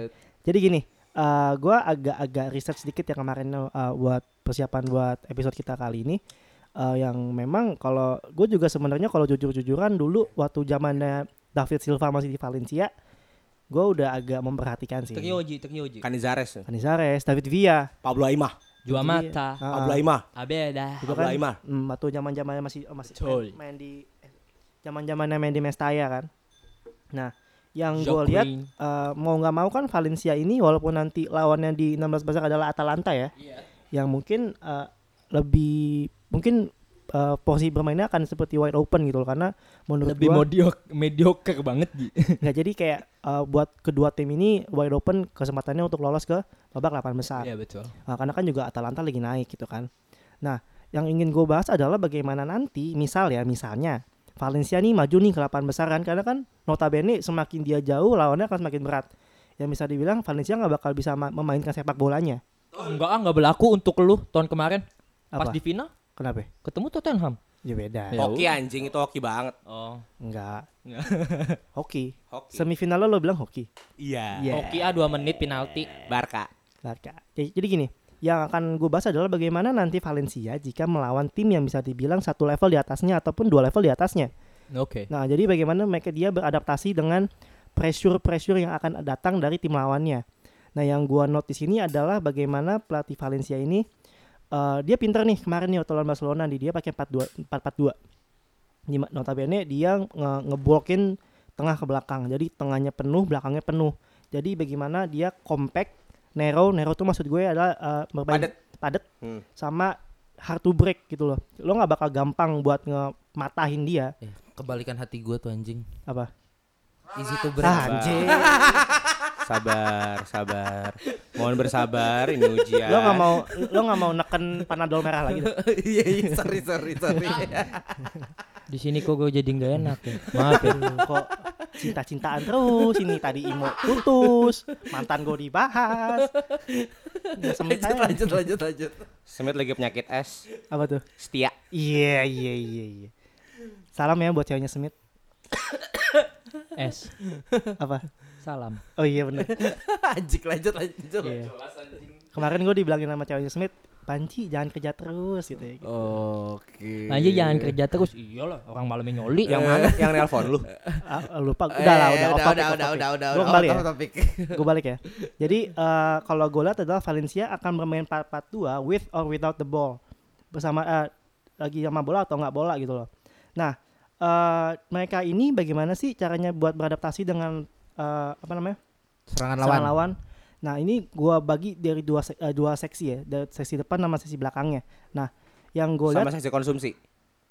Jadi gini, eh gue agak-agak research sedikit ya kemarin eh, buat persiapan buat episode kita kali ini. Eh, yang memang kalau gue juga sebenarnya kalau jujur-jujuran dulu waktu zamannya David Silva masih di Valencia, gue udah agak memperhatikan sih.
Teknioji, Teknioji.
Canizares,
Canizares, David Villa,
Pablo Aimar,
Jua mata,
Ah,
Pablo Aimar,
abeda.
itu
Pablo
kan
Aimar.
mm, waktu zaman-zamannya masih oh, masih main,
Betul.
main di eh, zaman-zamannya main di Mestaya kan. Nah, yang gue
Jacques
lihat
Green.
eh, mau nggak mau kan Valencia ini walaupun nanti lawannya di 16 besar adalah Atalanta ya.
Iya.
Yang mungkin eh, lebih mungkin eh, posisi bermainnya akan seperti wide open gitu loh karena menurut
Lebih
gua
modiok, mediocre banget Ji.
nggak jadi kayak eh, buat kedua tim ini wide open kesempatannya untuk lolos ke babak 8 besar.
Ya,
Iya betul.
Nah, karena kan juga Atalanta lagi naik gitu kan. Nah, yang ingin gue bahas adalah bagaimana nanti, misal ya, misalnya Valencia nih maju nih ke 8 besar kan karena kan notabene semakin dia jauh lawannya akan semakin berat. Yang bisa dibilang Valencia nggak bakal bisa ma- memainkan sepak bolanya.
Enggak, ah, enggak berlaku untuk lu tahun kemarin. Pas
Apa?
di final
Kenapa?
ketemu Tottenham.
Ya beda.
Ya.
Hoki anjing itu hoki banget.
Oh.
Enggak.
Nggak.
hoki.
Hoki.
Semifinal lo bilang hoki.
Iya.
Iya.
Hoki ah 2 menit penalti.
Barca.
Barca. Jadi, jadi gini, yang akan gue bahas adalah bagaimana nanti Valencia jika melawan tim yang bisa dibilang satu level di atasnya ataupun dua level di atasnya.
Oke.
Nah, jadi bagaimana mereka dia beradaptasi dengan pressure-pressure yang akan datang dari tim lawannya. Nah, yang gua note di sini adalah bagaimana pelatih Valencia ini eh, dia pinter nih kemarin nih waktu lawan Barcelona nih dia pakai 4-2 4-4-2. Di ma- Notabene dia nge ngeblokin tengah ke belakang. Jadi tengahnya penuh, belakangnya penuh. Jadi bagaimana dia compact, narrow, narrow tuh maksud gue adalah eh, bermain
Padet.
padet
Hmm.
sama hard to break gitu loh. Lo nggak bakal gampang buat ngematahin dia
Eh, kebalikan hati gua tuh anjing.
apa?
Easy to break.
Ah, anjing.
Sabar, sabar. Mohon bersabar ini ujian.
lo
Eh.
nggak mau lo nggak mau neken panadol merah lagi dah.
Iya, iya, sorry, sorry, sorry.
Di sini kok gue jadi nggak enak ya. Maaf ya.
Aduh, kok cinta-cintaan terus ini tadi Imo putus mantan gue dibahas Nggak sempet
lanjut,
aja.
lanjut, lanjut, lanjut.
Smith lagi penyakit es.
apa tuh
Setia.
iya iya iya iya salam ya buat ceweknya Smith
S.
apa
Salam.
oh iya bener
Anjing, lanjut, lanjut.
Iya. kemarin gue dibilangin sama ceweknya Smith Panci jangan kerja terus gitu ya. gitu.
Oh. Oke.
Panji Nah, iya, jangan kerja terus. Iyalah, orang malamnya nyoli. ya.
Yang mana? Yang nelpon lu.
Ah, lupa
Eh,
udah lah udah off
udah,
topic,
udah,
off
udah,
topic.
udah, udah,
Gua
udah,
kembali
off
ya.
topic.
gue balik ya. Jadi eh, kalau gue lihat adalah Valencia akan bermain 4-4-2 with or without the ball bersama eh, lagi sama bola atau nggak bola gitu loh. Nah eh, mereka ini bagaimana sih caranya buat beradaptasi dengan eh, apa namanya
Serangan lawan.
lawan. lawan. Nah ini gue bagi dari dua se- eh, dua seksi ya, dari seksi depan sama seksi belakangnya. Nah yang gue
Sama
lihat
seksi konsumsi.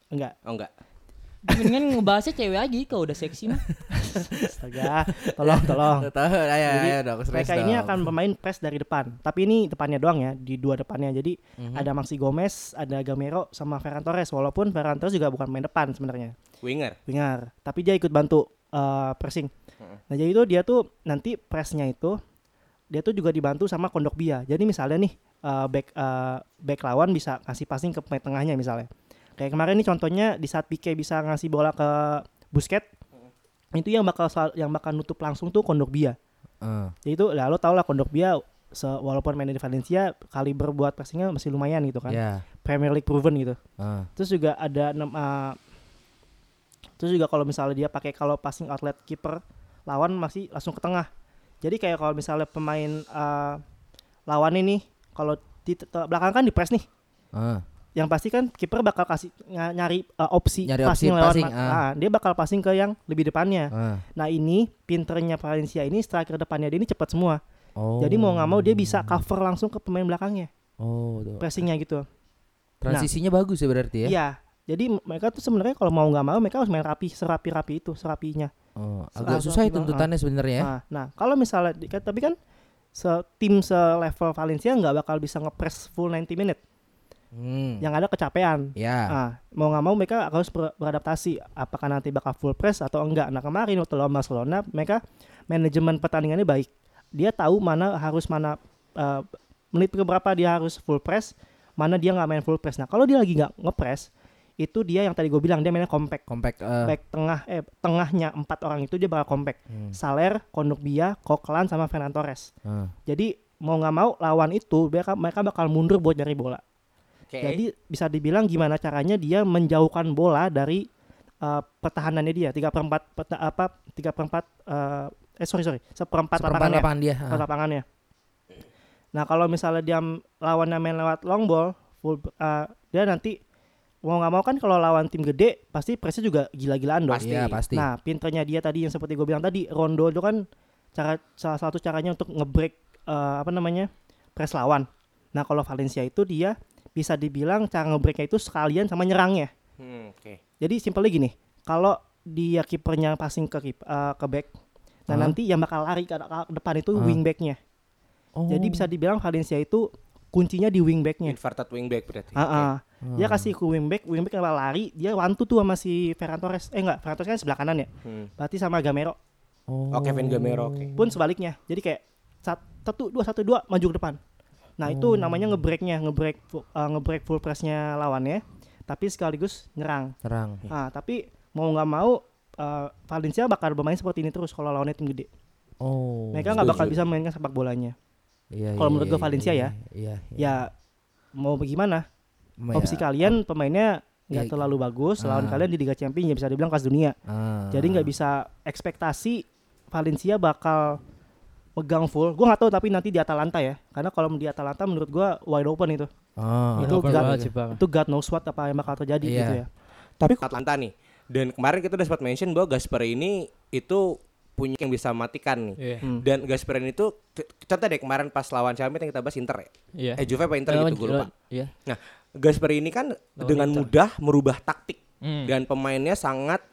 enggak
Oh enggak.
Mendingan ngebahasnya cewek aja kalau udah seksi mah.
astaga tolong tolong
Nggak tahu, ayo,
Jadi,
ayo Iya, dong, serius
mereka ini
dong.
akan bermain press dari depan tapi ini depannya doang ya di dua depannya jadi
Mhm.
ada Maxi Gomez ada Gamero sama Ferran Torres walaupun Ferran Torres juga bukan main depan sebenarnya
Winger.
winger tapi dia ikut bantu eh, pressing nah jadi itu dia tuh nanti pressnya itu dia tuh juga dibantu sama Kondogbia jadi misalnya nih eh, back eh, back lawan bisa ngasih passing ke pemain tengahnya misalnya kayak kemarin nih contohnya di saat Pique bisa ngasih bola ke Busket itu yang bakal sel- yang bakal nutup langsung tuh Kondogbia
Eh,
jadi itu lah lo tau lah Kondogbia se walaupun main di Valencia kaliber buat passingnya masih lumayan gitu kan
ya.
Premier League proven gitu
eh.
terus juga ada enam eh, terus juga kalau misalnya dia pakai kalau passing outlet kiper lawan masih langsung ke tengah jadi kayak kalau misalnya pemain eh, lawan ini kalau di te- te- belakang kan di press nih
eh.
yang pasti kan kiper bakal kasih nga- nyari eh, opsi
Nyari opsi
passing lewat
passing,
ma-
ah.
ah, dia bakal passing ke yang lebih depannya
eh.
nah ini pinternya Valencia ini striker depannya dia ini cepat semua
Oh.
jadi mau nggak mau dia bisa cover langsung ke pemain belakangnya,
Oh, tuh.
pressingnya gitu.
transisinya bagus ya berarti ya.
Iya. Jadi m- mereka tuh sebenarnya kalau mau nggak mau mereka harus main rapi, serapi-rapi itu, serapinya.
Oh,
Setelah-
agak susah ya
setelah-
tuntutannya sebenarnya ya.
Nah, nah, kalau misalnya di- kan- tapi kan se tim selevel Valencia nggak bakal bisa ngepres full 90 menit.
Hmm.
Yang ada kecapean.
Ya.
Nah, mau nggak mau mereka harus ber- beradaptasi apakah nanti bakal full press atau enggak. Nah, kemarin waktu lawan Barcelona mereka manajemen pertandingannya baik. Dia tahu mana harus mana eh, menit berapa dia harus full press, mana dia nggak main full press. Nah, kalau dia lagi nggak ngepres, itu dia yang tadi gue bilang dia mainnya compact.
Compact eh,
Back tengah eh tengahnya empat orang itu dia bakal compact.
Hmm.
Saler, Kondogbia, Coquelin sama Ferran Torres.
eh.
Jadi mau nggak mau lawan itu mereka mereka bakal mundur buat nyari bola.
Oke.
Jadi bisa dibilang gimana caranya dia menjauhkan bola dari uh, pertahanannya dia tiga perempat peta, apa tiga perempat uh, eh sorry sorry
Seperempat
seperempat
ya?
lapangannya
lapangan dia. ah.
seperempat lapangannya. Nah kalau misalnya dia m- lawannya main lewat long ball full uh, dia nanti mau nggak mau kan kalau lawan tim gede pasti pressnya juga gila-gilaan dong.
Pasti.
Iya, pasti.
Nah pinternya dia tadi yang seperti gue bilang tadi Rondo itu kan cara salah satu caranya untuk ngebreak uh, apa namanya press lawan. Nah kalau Valencia itu dia bisa dibilang cara ngebreaknya itu sekalian sama nyerangnya.
Hmm, oke.
Jadi simpelnya gini, kalau dia kipernya passing ke kip, eh, ke back, nah
Hah?
nanti yang bakal lari ke, ke depan itu
Hah?
wingbacknya.
Oh.
Jadi bisa dibilang Valencia itu kuncinya di wingbacknya.
Inverted wingback berarti.
Ah, ah.
Hmm.
Dia kasih ke wingback, wingback yang lari, dia wantu tuh sama si Ferran Torres. Eh enggak, Ferran Torres kan sebelah kanan ya.
Oke. Hmm.
Berarti sama Gamero
Oh.
Oh, Kevin Gamero. Oke.
pun sebaliknya. Jadi kayak sat- satu dua satu dua maju ke depan. Nah itu
Hmm.
namanya ngebreaknya, ngebreak fu- eh, ngebreak full pressnya lawannya, tapi sekaligus nyerang.
Terang.
Ah, tapi mau nggak mau eh, Valencia bakal bermain seperti ini terus kalau lawannya tim gede.
Oh.
Nah,
Mereka nggak bakal
setuju.
bisa mainkan sepak bolanya.
Iya, iya,
kalau menurut gua
iya,
Valencia
iya,
ya.
Iya.
Ya mau bagaimana?
Ma-
Opsi
ya,
kalian pemainnya nggak
Ya,
terlalu bagus.
Ah.
Lawan kalian di Liga Champions ya bisa dibilang kelas dunia.
ah.
Jadi
Hmm.
nggak bisa ekspektasi Valencia bakal pegang full. Gua nggak tahu tapi nanti di Atalanta ya. Karena kalau di Atalanta menurut gua wide open itu.
Ah.
itu
Oh, open
God,
banget sih, Pak.
itu God knows what apa yang bakal terjadi
Iya.
gitu ya.
Tapi Atlanta nih. Dan kemarin kita udah sempat mention bahwa Gasper ini itu punya yang bisa matikan nih.
Iya.
Hmm.
Dan Gasper ini tuh c- contoh deh kemarin pas lawan Champions yang kita bahas Inter ya.
Iya.
Eh Juve apa Inter gitu gue lupa.
Iya.
Nah, Gasper ini kan
Lawan
dengan
Inter.
mudah merubah taktik
Hmm.
dan pemainnya sangat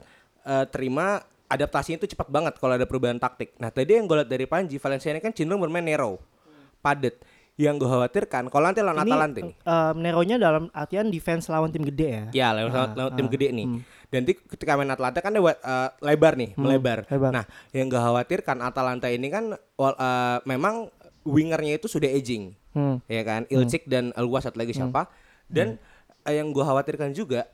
eh, terima adaptasinya itu cepat banget kalau ada perubahan taktik. Nah, tadi yang gue lihat dari Panji, Valencia ini kan cenderung bermain narrow, padat. Yang gue khawatirkan kalau nanti lawan Atalanta nih.
eh, Neronya dalam artian defense lawan tim gede ya.
Iya.
Ya, lawan, lawan tim gede nih. Dan nanti ketika main Atalanta kan lewat eh, lebar nih, melebar.
lebar.
Nah, yang gue khawatirkan Atalanta ini kan wal- eh, memang wingernya itu sudah aging.
Hmm.
ya kan Ilcik dan Luas satu lagi siapa dan eh, yang gua khawatirkan juga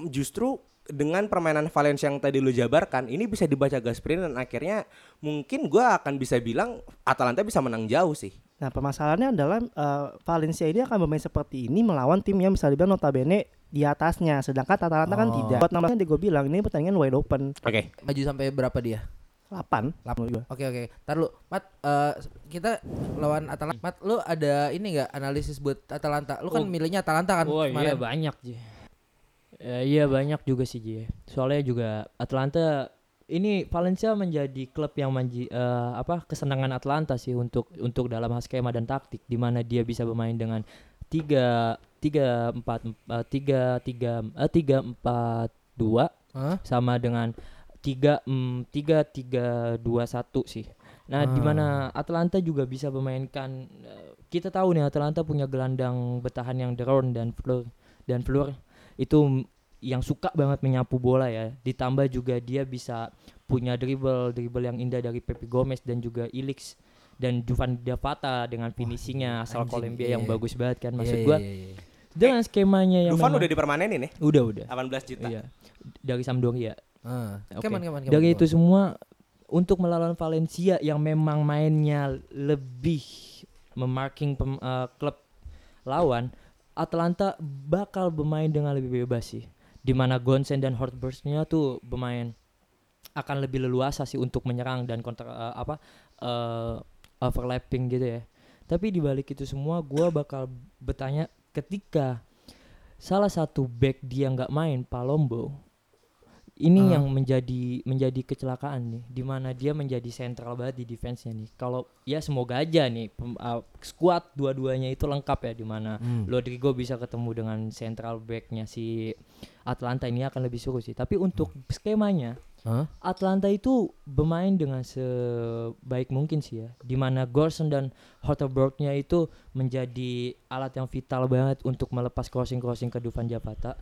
m- justru dengan permainan Valencia yang tadi lu jabarkan ini bisa dibaca Gasperini dan akhirnya mungkin gua akan bisa bilang Atalanta bisa menang jauh sih
Nah permasalahannya adalah eh, Valencia ini akan bermain seperti ini melawan tim yang bisa dibilang notabene di atasnya, sedangkan Atalanta kan
Oh.
tidak. Buat namanya gue bilang ini pertandingan wide open
Oke.
Maju sampai berapa dia?
8
Lapan.
menurut gua.
Oke oke. Ntar lu, Mat, eh, kita lawan Atalanta. Mat, lu ada ini nggak analisis buat Atalanta? Lu kan
Oh.
milihnya Atalanta kan
Oh iya
kemarin.
banyak Ji. Eh, iya banyak juga sih Ji. Soalnya juga Atlanta ini Valencia menjadi klub yang manji eh, apa kesenangan Atlanta sih untuk untuk dalam hal skema dan taktik di mana dia bisa bermain dengan tiga tiga empat em- eh, tiga tiga eh, tiga empat dua
Hah?
sama dengan tiga mm, tiga tiga dua satu sih. Nah, di
Ah.
mana Atlanta juga bisa memainkan eh, kita tahu nih Atlanta punya gelandang bertahan yang Deron dan Fleur dan Fleur itu mm, yang suka banget menyapu bola ya. Ditambah juga dia bisa punya dribble dribble yang indah dari Pepe Gomez dan juga Ilix dan Juvan Dapata dengan finishingnya asal
anjing,
Kolombia
iya,
yang
iya.
bagus banget kan
Iya,
maksud
iya,
gua.
iya, iya.
Dengan skemanya yang
Dufan
Iya, memang-
udah dipermanenin nih,
udah udah.
18 juta.
Iya. Dari Sampdoria.
Ah,
Oke.
keman, keman, keman,
Dari
keman.
itu semua untuk melawan Valencia yang memang mainnya lebih memarking pem- eh, klub lawan, Atlanta bakal bermain dengan lebih bebas sih. Di mana Gonsen dan Hortburst-nya tuh bermain akan lebih leluasa sih untuk menyerang dan counter eh, apa eh, overlapping gitu ya. Tapi di balik itu semua gua bakal bertanya ketika salah satu back dia nggak main Palombo ini
Ah.
yang menjadi menjadi kecelakaan nih di mana dia menjadi sentral banget di defense-nya nih kalau ya semoga aja nih pem- uh, squad dua-duanya itu lengkap ya di mana
Hmm.
Rodrigo bisa ketemu dengan central back-nya si Atlanta ini akan lebih seru sih tapi untuk skemanya
Hmm. Hah?
Atlanta itu bermain dengan sebaik mungkin sih ya. Dimana Gorson dan Hotterberg-nya itu menjadi alat yang vital banget untuk melepas crossing-crossing ke Dufan Zapata.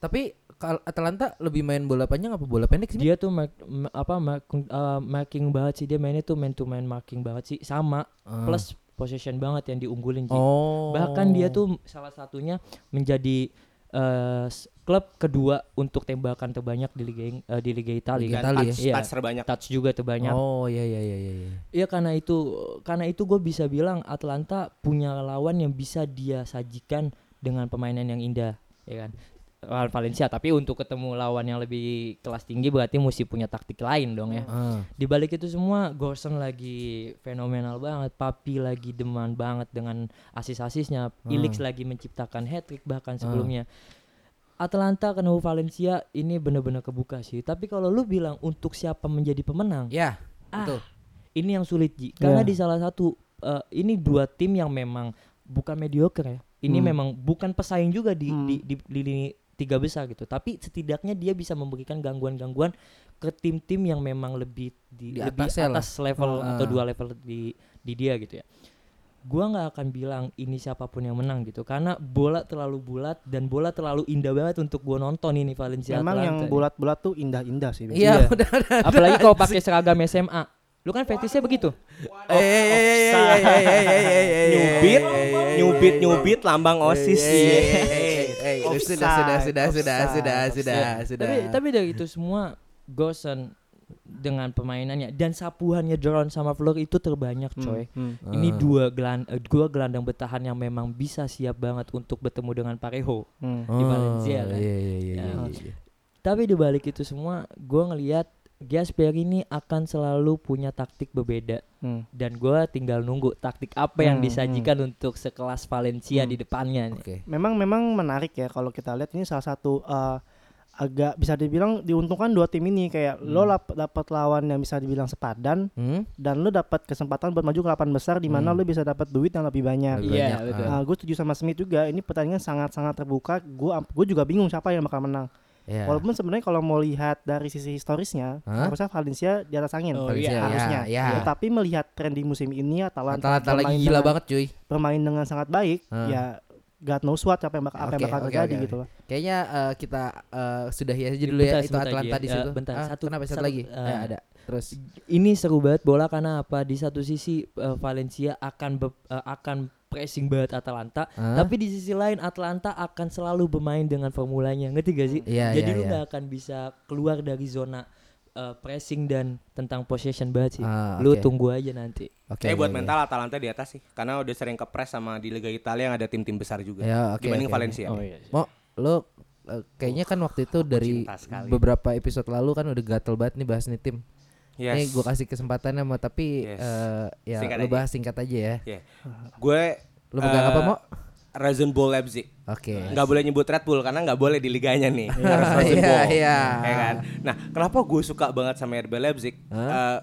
Tapi kal- Atalanta lebih main bola panjang apa bola pendek sih? Mat?
Dia tuh mar- ma- apa marking, eh, marking banget sih dia mainnya tuh man to man marking banget sih sama
Ah.
plus possession banget yang diunggulin sih.
Oh.
Bahkan dia tuh salah satunya menjadi eh, s- klub kedua untuk tembakan terbanyak di Liga Ing- eh, di Liga Italia.
Liga
Dan
Itali
touch,
ya.
touch terbanyak.
Touch juga terbanyak.
Oh iya iya iya iya. iya.
Iya karena itu karena itu gue bisa bilang Atlanta punya lawan yang bisa dia sajikan dengan pemainan yang indah, ya kan? Lawan Valencia. Tapi untuk ketemu lawan yang lebih kelas tinggi berarti mesti punya taktik lain dong ya.
Ah.
Di balik itu semua Gorson lagi fenomenal banget, Papi lagi deman banget dengan asis-asisnya, Ilix lagi menciptakan hat trick bahkan sebelumnya. Atlanta ketemu Valencia ini bener-bener kebuka sih. Tapi kalau lu bilang untuk siapa menjadi pemenang,
Ya,
Ah,
betul.
ini yang sulit Ji karena
Ya.
di salah satu eh, ini dua tim yang memang bukan mediocre ya ini
Hmm.
memang bukan pesaing juga di,
Hmm.
di, di- di lini tiga besar gitu tapi setidaknya dia bisa memberikan gangguan-gangguan ke tim-tim yang memang lebih
Di
di, lebih
atasnya lah.
atas level
Ah.
atau dua level di di dia gitu ya gua nggak akan bilang ini siapapun yang menang gitu karena bola terlalu bulat dan bola terlalu indah banget untuk gua nonton ini Valencia
Memang yang
Atalanta nih.
bulat-bulat tuh indah-indah sih. biasanya.
Iya,
Iya.
udah udah.
apalagi kalau pakai seragam SMA lu kan fetishnya begitu
Eh, eh, eh, eh, eh, eh, eh, eh, eh, eh, eh,
Nyubit,
eh, eh, eh,
nyubit,
eh,
nyubit lambang
eh,
OSIS.
eh, eh,
Iya.
eh, eh, eh,
Offside,
Sudah sudah sudah sudah
offside,
sudah sudah
Iya.
sudah.
Tapi tapi dari itu semua Gosen dengan pemainannya dan sapuhannya Doron sama Fleur itu terbanyak
Hmm,
coy.
hmm.
Ini
Ah.
dua gelan eh, dua gelandang bertahan yang memang bisa siap banget untuk bertemu dengan Parejo.
Hmm.
di Valencia,
Oh,
kan?
Iya iya iya, iya,
Ah.
iya.
Tapi di balik itu semua gue ngelihat Gasper ini akan selalu punya taktik berbeda
Hmm.
dan gue tinggal nunggu taktik apa yang
Hmm,
disajikan untuk sekelas Valencia di depannya nih.
Oke.
Memang memang menarik ya kalau kita lihat ini salah satu eh, agak bisa dibilang diuntungkan dua tim ini kayak lo lap- dapat lawan yang bisa dibilang sepadan
Hmm?
dan lo dapat kesempatan buat maju ke lapan besar di mana
Hmm.
lo bisa dapat duit yang lebih banyak.
Lebih
Iya,
banyak,
betul.
ah.
gue setuju sama Smith juga. Ini pertandingan sangat-sangat terbuka. Gue gue juga bingung siapa yang bakal menang.
Iya.
Walaupun sebenarnya kalau mau lihat dari sisi historisnya,
Hah?
harusnya Valencia di atas angin.
Oh,
Valencia,
iya.
ya,
harusnya.
ya.
Tetapi melihat tren di musim ini Atalanta,
Atalanta lagi
bermain
gila
dengan-
banget cuy.
bermain dengan sangat baik,
Hah.
ya God knows what apa yang bakal apa yang
Ah. Oke,
bakal
oke,
terjadi
oke,
gitu loh.
Kayaknya eh, kita eh, sudahi aja dulu ya
Bentar,
itu
sebentar lagi
Atalanta
ya.
di
Eh,
situ.
bentar,
Ah,
satu-
kenapa satu
satu-
lagi?
eh.
Eh, ada. Terus
ini seru banget bola karena apa di satu sisi eh, Valencia akan be- eh, akan pressing banget Atalanta
Hah?
tapi di sisi lain Atalanta akan selalu bermain dengan formulanya ngerti gak sih
Iya,
jadi
iya,
lu
iya.
nggak akan bisa keluar dari zona eh, pressing dan tentang possession banget sih.
Ah, oke.
Lu tunggu aja nanti.
Oke.
Kayak Eh, buat
oke,
mental Atalanta di atas sih, karena udah sering kepres sama di Liga Italia yang ada tim-tim besar juga.
Ya, oke,
Dibanding
oke.
Valencia.
iya.
oke. Mo, lu eh, kayaknya kan waktu itu dari
cinta sekali.
beberapa episode lalu kan udah gatel banget nih bahas nih tim.
Yes.
Nih gue kasih kesempatannya mau tapi
Yes.
eh, ya
Singkat
lu
aja. Iya.
bahas singkat aja ya.
Yeah. Gue eh,
Lu pegang apa, Mo? Oh,
Razen Bull Leipzig.
Oke.
Nggak boleh nyebut Red Bull karena nggak boleh di liganya nih. Harus Rasen
Iya,
Bull.
iya.
Ya kan? Nah, kenapa gue suka banget sama RB Leipzig? Eh,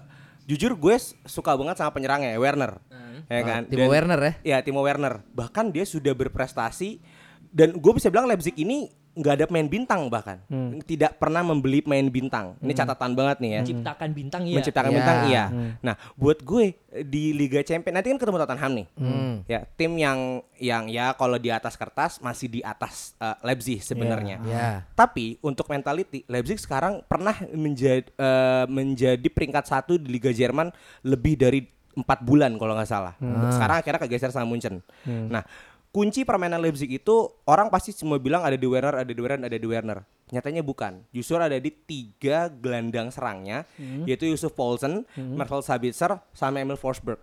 jujur gue s- suka banget sama penyerangnya Werner. Ya
Hmm.
kan?
Ah, Timo
Dan-
Werner ya?
Iya, Timo Werner. Bahkan dia sudah berprestasi dan gue bisa bilang Leipzig ini nggak ada pemain bintang bahkan.
Hmm.
Tidak pernah membeli pemain bintang. Ini catatan banget nih ya
Hmm.
Menciptakan bintang ya.
menciptakan
Iya.
bintang iya. Nah, buat gue eh, di Liga Champions nanti kan ketemu Tottenham nih.
Hmm.
Ya, tim yang yang ya kalau di atas kertas masih di atas eh, Leipzig sebenarnya.
Iya.
Tapi untuk mentality Leipzig sekarang pernah menjadi eh, menjadi peringkat satu di Liga Jerman lebih dari empat bulan kalau nggak salah. Sekarang akhirnya kegeser sama Munchen. Nah, kunci permainan Leipzig itu orang pasti semua bilang ada di Werner, ada di Werner, ada di Werner. Nyatanya bukan. Justru ada di tiga gelandang serangnya, yaitu Yusuf Poulsen, Marcel Sabitzer, sama Emil Forsberg.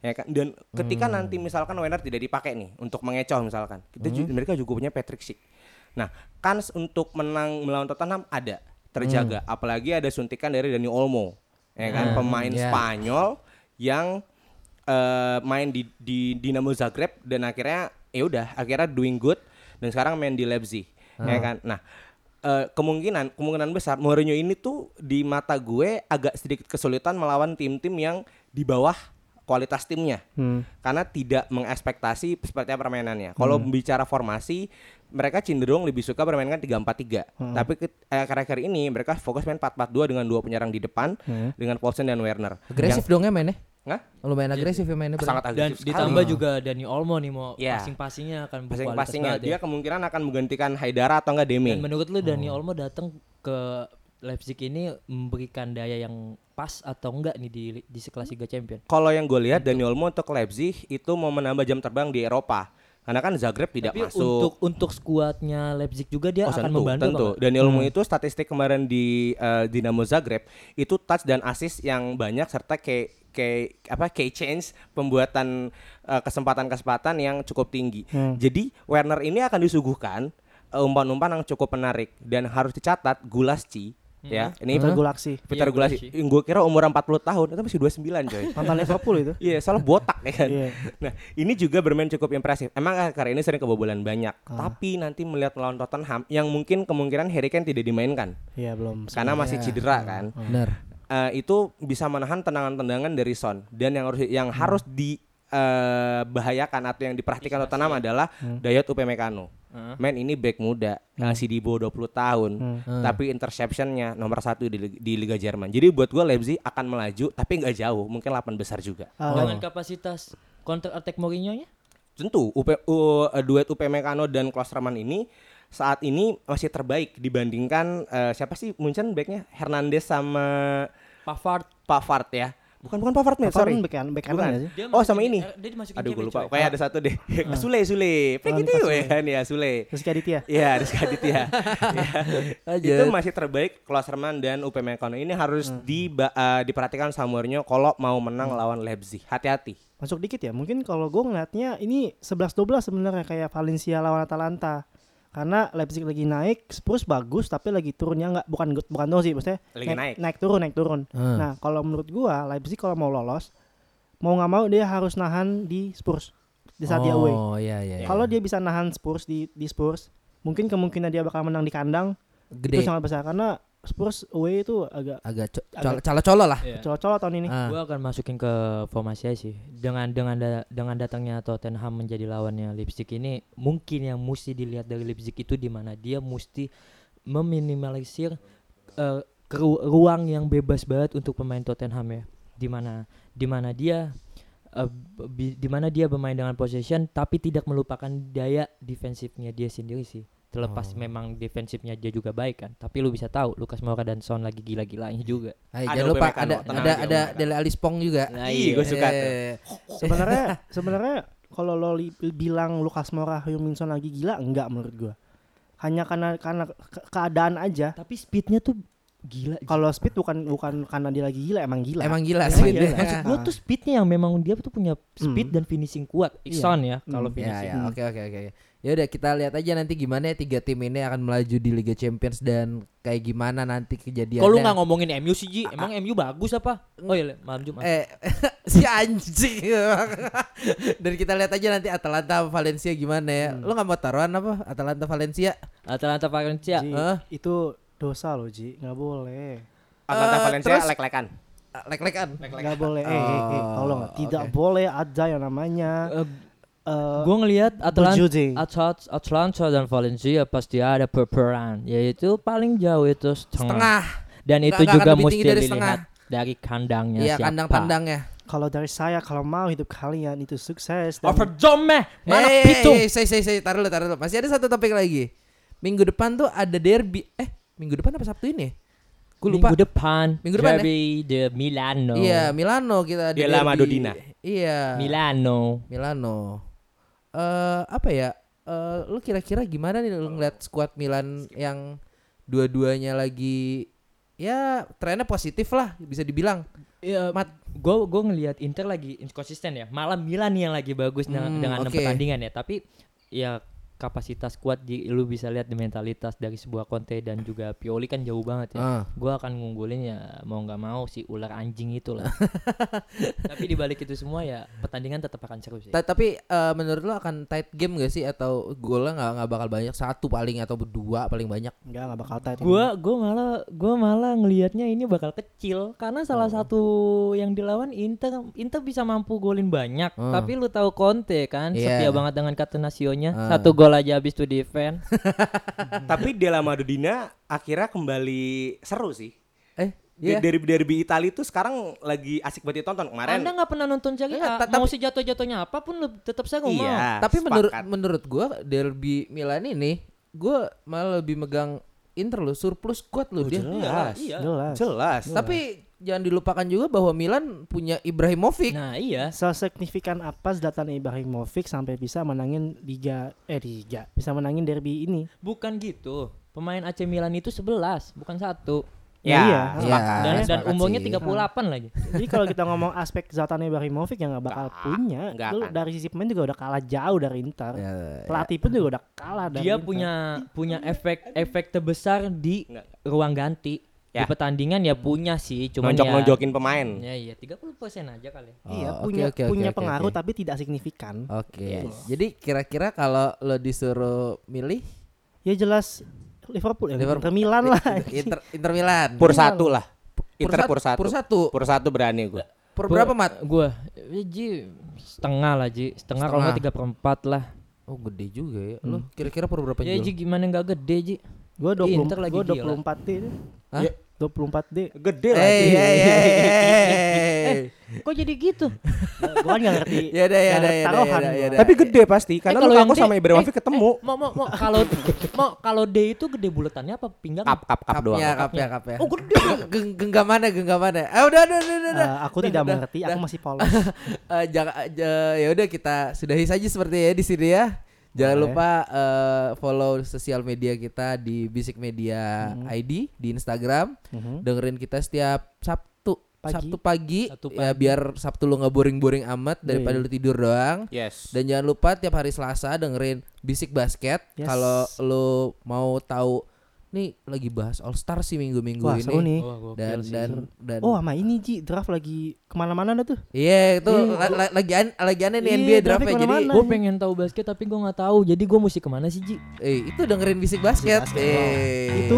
Ya kan? Dan ketika nanti misalkan Werner tidak dipakai nih untuk mengecoh misalkan, kita ju- mereka juga punya Patrick Schick. Nah, kans untuk menang melawan Tottenham ada, terjaga. Apalagi ada suntikan dari Dani Olmo, ya kan, pemain
ya.
Spanyol yang eh, main di, di Dinamo Zagreb dan akhirnya ya udah, akhirnya doing good dan sekarang main di Leipzig, ya kan. Nah, eh, kemungkinan kemungkinan besar Mourinho ini tuh di mata gue agak sedikit kesulitan melawan tim-tim yang di bawah kualitas timnya karena tidak mengekspektasi seperti apa permainannya. Kalau bicara formasi, mereka cenderung lebih suka bermainkan 3-4-3. Tapi ke- eh, akhir-akhir ini mereka fokus main 4-4-2 dengan dua penyerang di depan dengan Paulsen dan Werner.
Agresif
Yang-
dong ya mainnya.
Hah? Iya.
Lumayan agresif ya mainnya.
sangat
Dan
agresif. sekali.
ditambah juga Dani Olmo nih mau
Iya.
passing-passingnya akan berkualitas
Passing-passingnya
banget ya.
dia kemungkinan akan menggantikan Haidara atau enggak Demi.
Dan menurut lu Dani
Oh.
Olmo datang ke Leipzig ini memberikan daya yang pas atau enggak nih di di sekelas Liga Champion?
Kalau yang gue lihat Dani Olmo untuk Leipzig itu mau menambah jam terbang di Eropa. Karena kan Zagreb tidak
Tapi
masuk.
untuk untuk skuadnya Leipzig juga dia
Oh,
akan
tentu,
membantu Hmm.
tentu.
apa enggak?
Daniel Mu itu statistik kemarin di eh, Dinamo Zagreb itu touch dan assist yang banyak serta kayak kayak apa key change pembuatan eh, kesempatan-kesempatan yang cukup tinggi.
Hmm.
Jadi Werner ini akan disuguhkan eh, umpan-umpan yang cukup menarik dan harus dicatat Gulasci ya.
Hmm.
Ini
Peter Gulaksi.
Peter
Iya,
Gulasci.
Gulasci.
Yang gue kira umur 40 tahun itu masih 29 coy.
Mantan Liverpool itu.
Iya, soalnya botak ya kan.
Iya.
Nah, ini juga bermain cukup impresif. Emang eh, karena ini sering kebobolan banyak,
Ah.
tapi nanti melihat melawan Tottenham yang mungkin kemungkinan Harry Kane tidak dimainkan
Iya, Oh. belum.
karena masih cedera kan.
Benar.
Eh, itu bisa menahan tendangan-tendangan dari Son dan yang harus yang
Hmm.
harus di eh, bahayakan atau yang diperhatikan Tottenham adalah
Hmm.
Dayot Upamecano. Men ini back muda, masih di bawah 20 tahun,
Hmm.
tapi interceptionnya nomor satu di, lig- di Liga Jerman. Jadi buat gue Leipzig akan melaju, tapi nggak jauh, mungkin 8 besar juga.
Dengan kapasitas counter attack Mourinho-nya?
Tentu UP, U- eh, duet Upamecano dan Klosterman ini saat ini masih terbaik dibandingkan eh, siapa sih Munchen backnya Hernandez sama
Pavard
Pavard ya. Bukan bukan Pavard nih,
Pavard
sorry.
kan back kanan- back kanan
Bukan.
nggak sih?
Dia
Oh, sama ini.
masukin- eh, dia dimasukin
Aduh, gue
cewek,
lupa.
coy. Ah.
Kayak ada satu deh. Sule, Sule. Kayak
Wanita
gitu
Oh, Sule.
ya kan ya, Sule.
Rizky Aditya.
Iya, Rizky Aditya. ya.
Lanjut.
Itu masih terbaik Klosterman dan Upamecano ini harus
Hmm.
diba- eh, diperhatikan sama Mourinho kalau mau menang lawan Leipzig. Hati-hati.
Masuk dikit ya. Mungkin kalau gue ngelihatnya ini 11-12 sebenarnya kayak Valencia lawan Atalanta. Karena Leipzig lagi naik, Spurs bagus tapi lagi turun ya nggak bukan bukan doang sih maksudnya
Lagi naik.
turun naik turun.
Ah.
Nah kalau menurut gua Leipzig kalau mau lolos mau nggak mau dia harus nahan di Spurs di saat dia away.
Oh iya iya. iya.
Kalau dia bisa nahan Spurs di di Spurs, mungkin kemungkinan dia bakal menang di kandang
gede
itu sangat besar karena Spurs away itu agak
agak co-
agak- Iya.
colo-colo lah.
colok-colok tahun ini.
Ah.
Gue akan masukin ke formasi aja sih. Dengan dengan da- dengan datangnya Tottenham menjadi lawannya Leipzig ini mungkin yang mesti dilihat dari Leipzig itu di mana dia mesti meminimalisir eh, ke ru- ruang yang bebas banget untuk pemain Tottenham ya. Di mana di mana dia eh, bi- di mana dia bermain dengan possession tapi tidak melupakan daya defensifnya dia sendiri sih. Terlepas memang defensifnya dia juga baik kan, tapi lu bisa tahu Lukas Moura dan Son lagi gila-gilanya juga.
Ayo,
Ada
jangan lupa
Upamecano,
ada
tenang
ada
aja,
ada
Upamecano.
Dele Alli Spong juga.
Nah,
Ih,
iya.
gue suka tuh.
Eh,
sebenarnya sebenarnya kalau lo li- bilang Lukas Moura Minson lagi gila enggak menurut gua hanya karena karena ke- keadaan aja
tapi speednya tuh gila
Kalau speed bukan bukan karena dia lagi gila, emang gila.
Emang gila
Emang
sih.
gila.
dia.
maksud gue tuh speednya yang memang dia tuh punya speed
Hmm.
dan finishing kuat Ikson ya kalau
Hmm.
Ya,
finishing
Iya. ya, oke oke oke. Ya udah kita lihat aja nanti gimana ya tiga tim ini akan melaju di Liga Champions dan kayak gimana nanti kejadiannya.
Kalau lu nggak ngomongin MU sih Ji, emang MU bagus apa? Oh iya, malam Jumat.
Hmm. eh si anjing. dan kita lihat aja nanti Atalanta Valencia gimana ya. Lu nggak mau taruhan apa Atalanta Valencia?
Atalanta Valencia.
Ji,
Eh,
Hah?
Itu dosa loh Ji, nggak boleh.
Atlanta
Eh,
Valencia
terus-
lek-lekan.
Ah, Lek-lekan.
Nggak boleh. Eh, eh, eh,
Oh,
tolong tidak
oke.
boleh ada yang namanya
Eh,
eh,
gue ngelihat Atalanta,
berjudi.
Atalanta, Atalanta dan Valencia pasti ada perperan, yaitu paling jauh itu setengah.
Tengah.
Dan
Nggak-
itu
nggak
juga
akan lebih
mesti
tinggi dari
dilihat dari kandangnya
Iya
siapa.
kandang pandangnya.
Kalau dari saya kalau mau hidup kalian itu sukses dan
Over Jome, mana
Eh,
pitung?
eh, eh, say, say, say, taruh dulu, taruh dulu. Masih ada satu topik lagi. Minggu depan tuh ada derby. Eh, minggu depan apa Sabtu ini? Gue lupa.
Minggu depan,
Minggu depan ya?
derby de Milano.
Iya, Milano kita ada
Della
derby.
Madonnina.
Iya.
Milano.
Milano. Eh apa ya? Eh lu kira-kira gimana nih lu ngeliat skuad Milan yang dua-duanya lagi ya trennya positif lah bisa dibilang.
Iya,
Mat.
gue gue ngelihat Inter lagi inkonsisten ya. Malah Milan nih yang lagi bagus dengan-
Hmm,
dengan enam
oke.
pertandingan ya. Tapi ya kapasitas kuat di, lu bisa lihat di mentalitas dari sebuah Conte dan juga Pioli kan jauh banget ya.
Ah.
Gue akan ngunggulin ya mau nggak mau si ular anjing itu lah. Tapi dibalik itu semua ya pertandingan tetap akan seru sih.
Ta- tapi eh, menurut lu akan tight game gak sih atau golnya nggak nggak bakal banyak satu paling atau dua paling banyak?
enggak enggak bakal tight. ini.
Gue gue malah gue malah ngelihatnya ini bakal kecil karena salah
Oh.
satu yang dilawan Inter Inter bisa mampu golin banyak
Hmm.
tapi lu tahu Conte kan
Iya.
setia banget dengan Catenasionya
Hmm.
satu gol aja habis tuh defend
Tapi Della Madudina akhirnya kembali seru sih.
Eh,
Di
iya.
Derby-derby Italia itu sekarang lagi asik banget ditonton. Kemarin
Anda nggak pernah nonton Serie
Nggak,
A
ta-
mau
tapi-
sejatuh-jatuhnya apapun lu tetap seru mau
Iya.
tapi menurut
sepakat.
menurut gua derby Milan ini gua malah lebih megang Inter loh, surplus kuat loh dia.
jelas.
Iya.
jelas.
Jelas.
Tapi jangan dilupakan juga bahwa Milan punya Ibrahimovic.
nah iya
Sesignifikan apa Zlatan Ibrahimovic sampai bisa menangin liga eh liga bisa menangin derby ini?
bukan gitu pemain AC Milan itu 11 bukan satu
Ya,
Iya.
sepakat.
dan dan
sepakat
umurnya
sih.
38 lagi
Jadi kalau kita ngomong aspek Zlatan Ibrahimovic ya nggak bakal
Nggak,
punya.
nggak
Lu
akan.
dari sisi pemain juga udah kalah jauh dari Inter.
Ya,
Pelatih pun juga udah kalah dari
dia
Inter.
punya punya efek efek terbesar di
kan Nggak.
ruang ganti di
Ya.
pertandingan ya punya sih cuman ya
Nonjok-nonjokin pemain.
ya iya 30 aja kali
Iya,
Oh, oke,
punya
oke, oke,
punya
oke,
pengaruh
oke. Oh.
tapi tidak signifikan.
Oke. Jadi kira-kira kalau lo disuruh milih
Ya jelas Liverpool ya,
Liverpool.
Inter Milan lah.
Inter, Inter Milan.
Pur satu lah. Inter pur
sat-
satu.
Pur satu.
Pur satu berani gue.
Pur berapa mat?
gue ya, ji setengah lah ji setengah kalau nggak tiga perempat lah
Oh gede juga ya. Lo kira-kira pur berapa
ya ji
Jul?
gimana nggak gede ji
Gua 20
Inter lagi
gua
gila.
24 D.
Hah?
Ya, 24 D.
Gede
Eh,
lah.
eh,
dia.
eh, eh, eh.
kok jadi gitu
Gua kan nggak ngerti.
Ya udah, ya
nggak
udah,
ngerti
ya udah, ya
taruhan
udah, ya
gua.
udah.
Tapi gede pasti karena lu
kalau yang
aku
D-
Eh, sama Ibrahimovic ketemu.
mau mau mau kalau mau kalau D itu gede bulatannya apa pinggang
Kap kap kap doang.
Kapnya, kapnya, kapnya. Oh gede. genggamannya, genggamannya. Ah udah, udah, udah, udah. udah.
Eh, aku tidak
udah,
mengerti, aku
udah.
masih polos.
Eh, jangan- eh, ya udah kita sudahi saja seperti ya di sini ya. Jangan
Boleh.
lupa eh, follow sosial media kita di Bisik Media ID di Instagram.
Mhm.
Dengerin kita setiap Sabtu
Pagi.
Sabtu pagi,
Sabtu
ya biar Sabtu lu nggak boring-boring amat daripada lu tidur doang.
Yes.
Dan jangan lupa tiap hari Selasa dengerin Bisik Basket.
Yes.
Kalau lu mau tahu nih lagi bahas All Star sih minggu-minggu
Wah,
ini.
seru nih.
Wah, gokil
Dan
sih.
dan dan
Oh, sama ini Ji, draft lagi kemana-mana dah tuh.
Iya itu la- la- lagi an- lagi aneh nih
Iya,
NBA
draftnya
draftnya jadi
kemana-mana.
gue pengen tahu basket tapi gue nggak tahu jadi gue mesti kemana sih ji
eh, itu dengerin bisik basket. Eh. iya.
Itu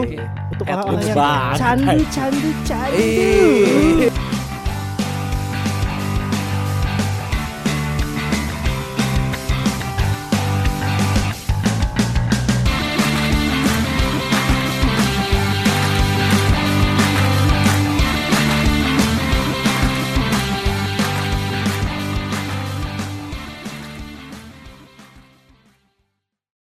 untuk orang-orang yang
banget.
candu, candu, candu.
Eh.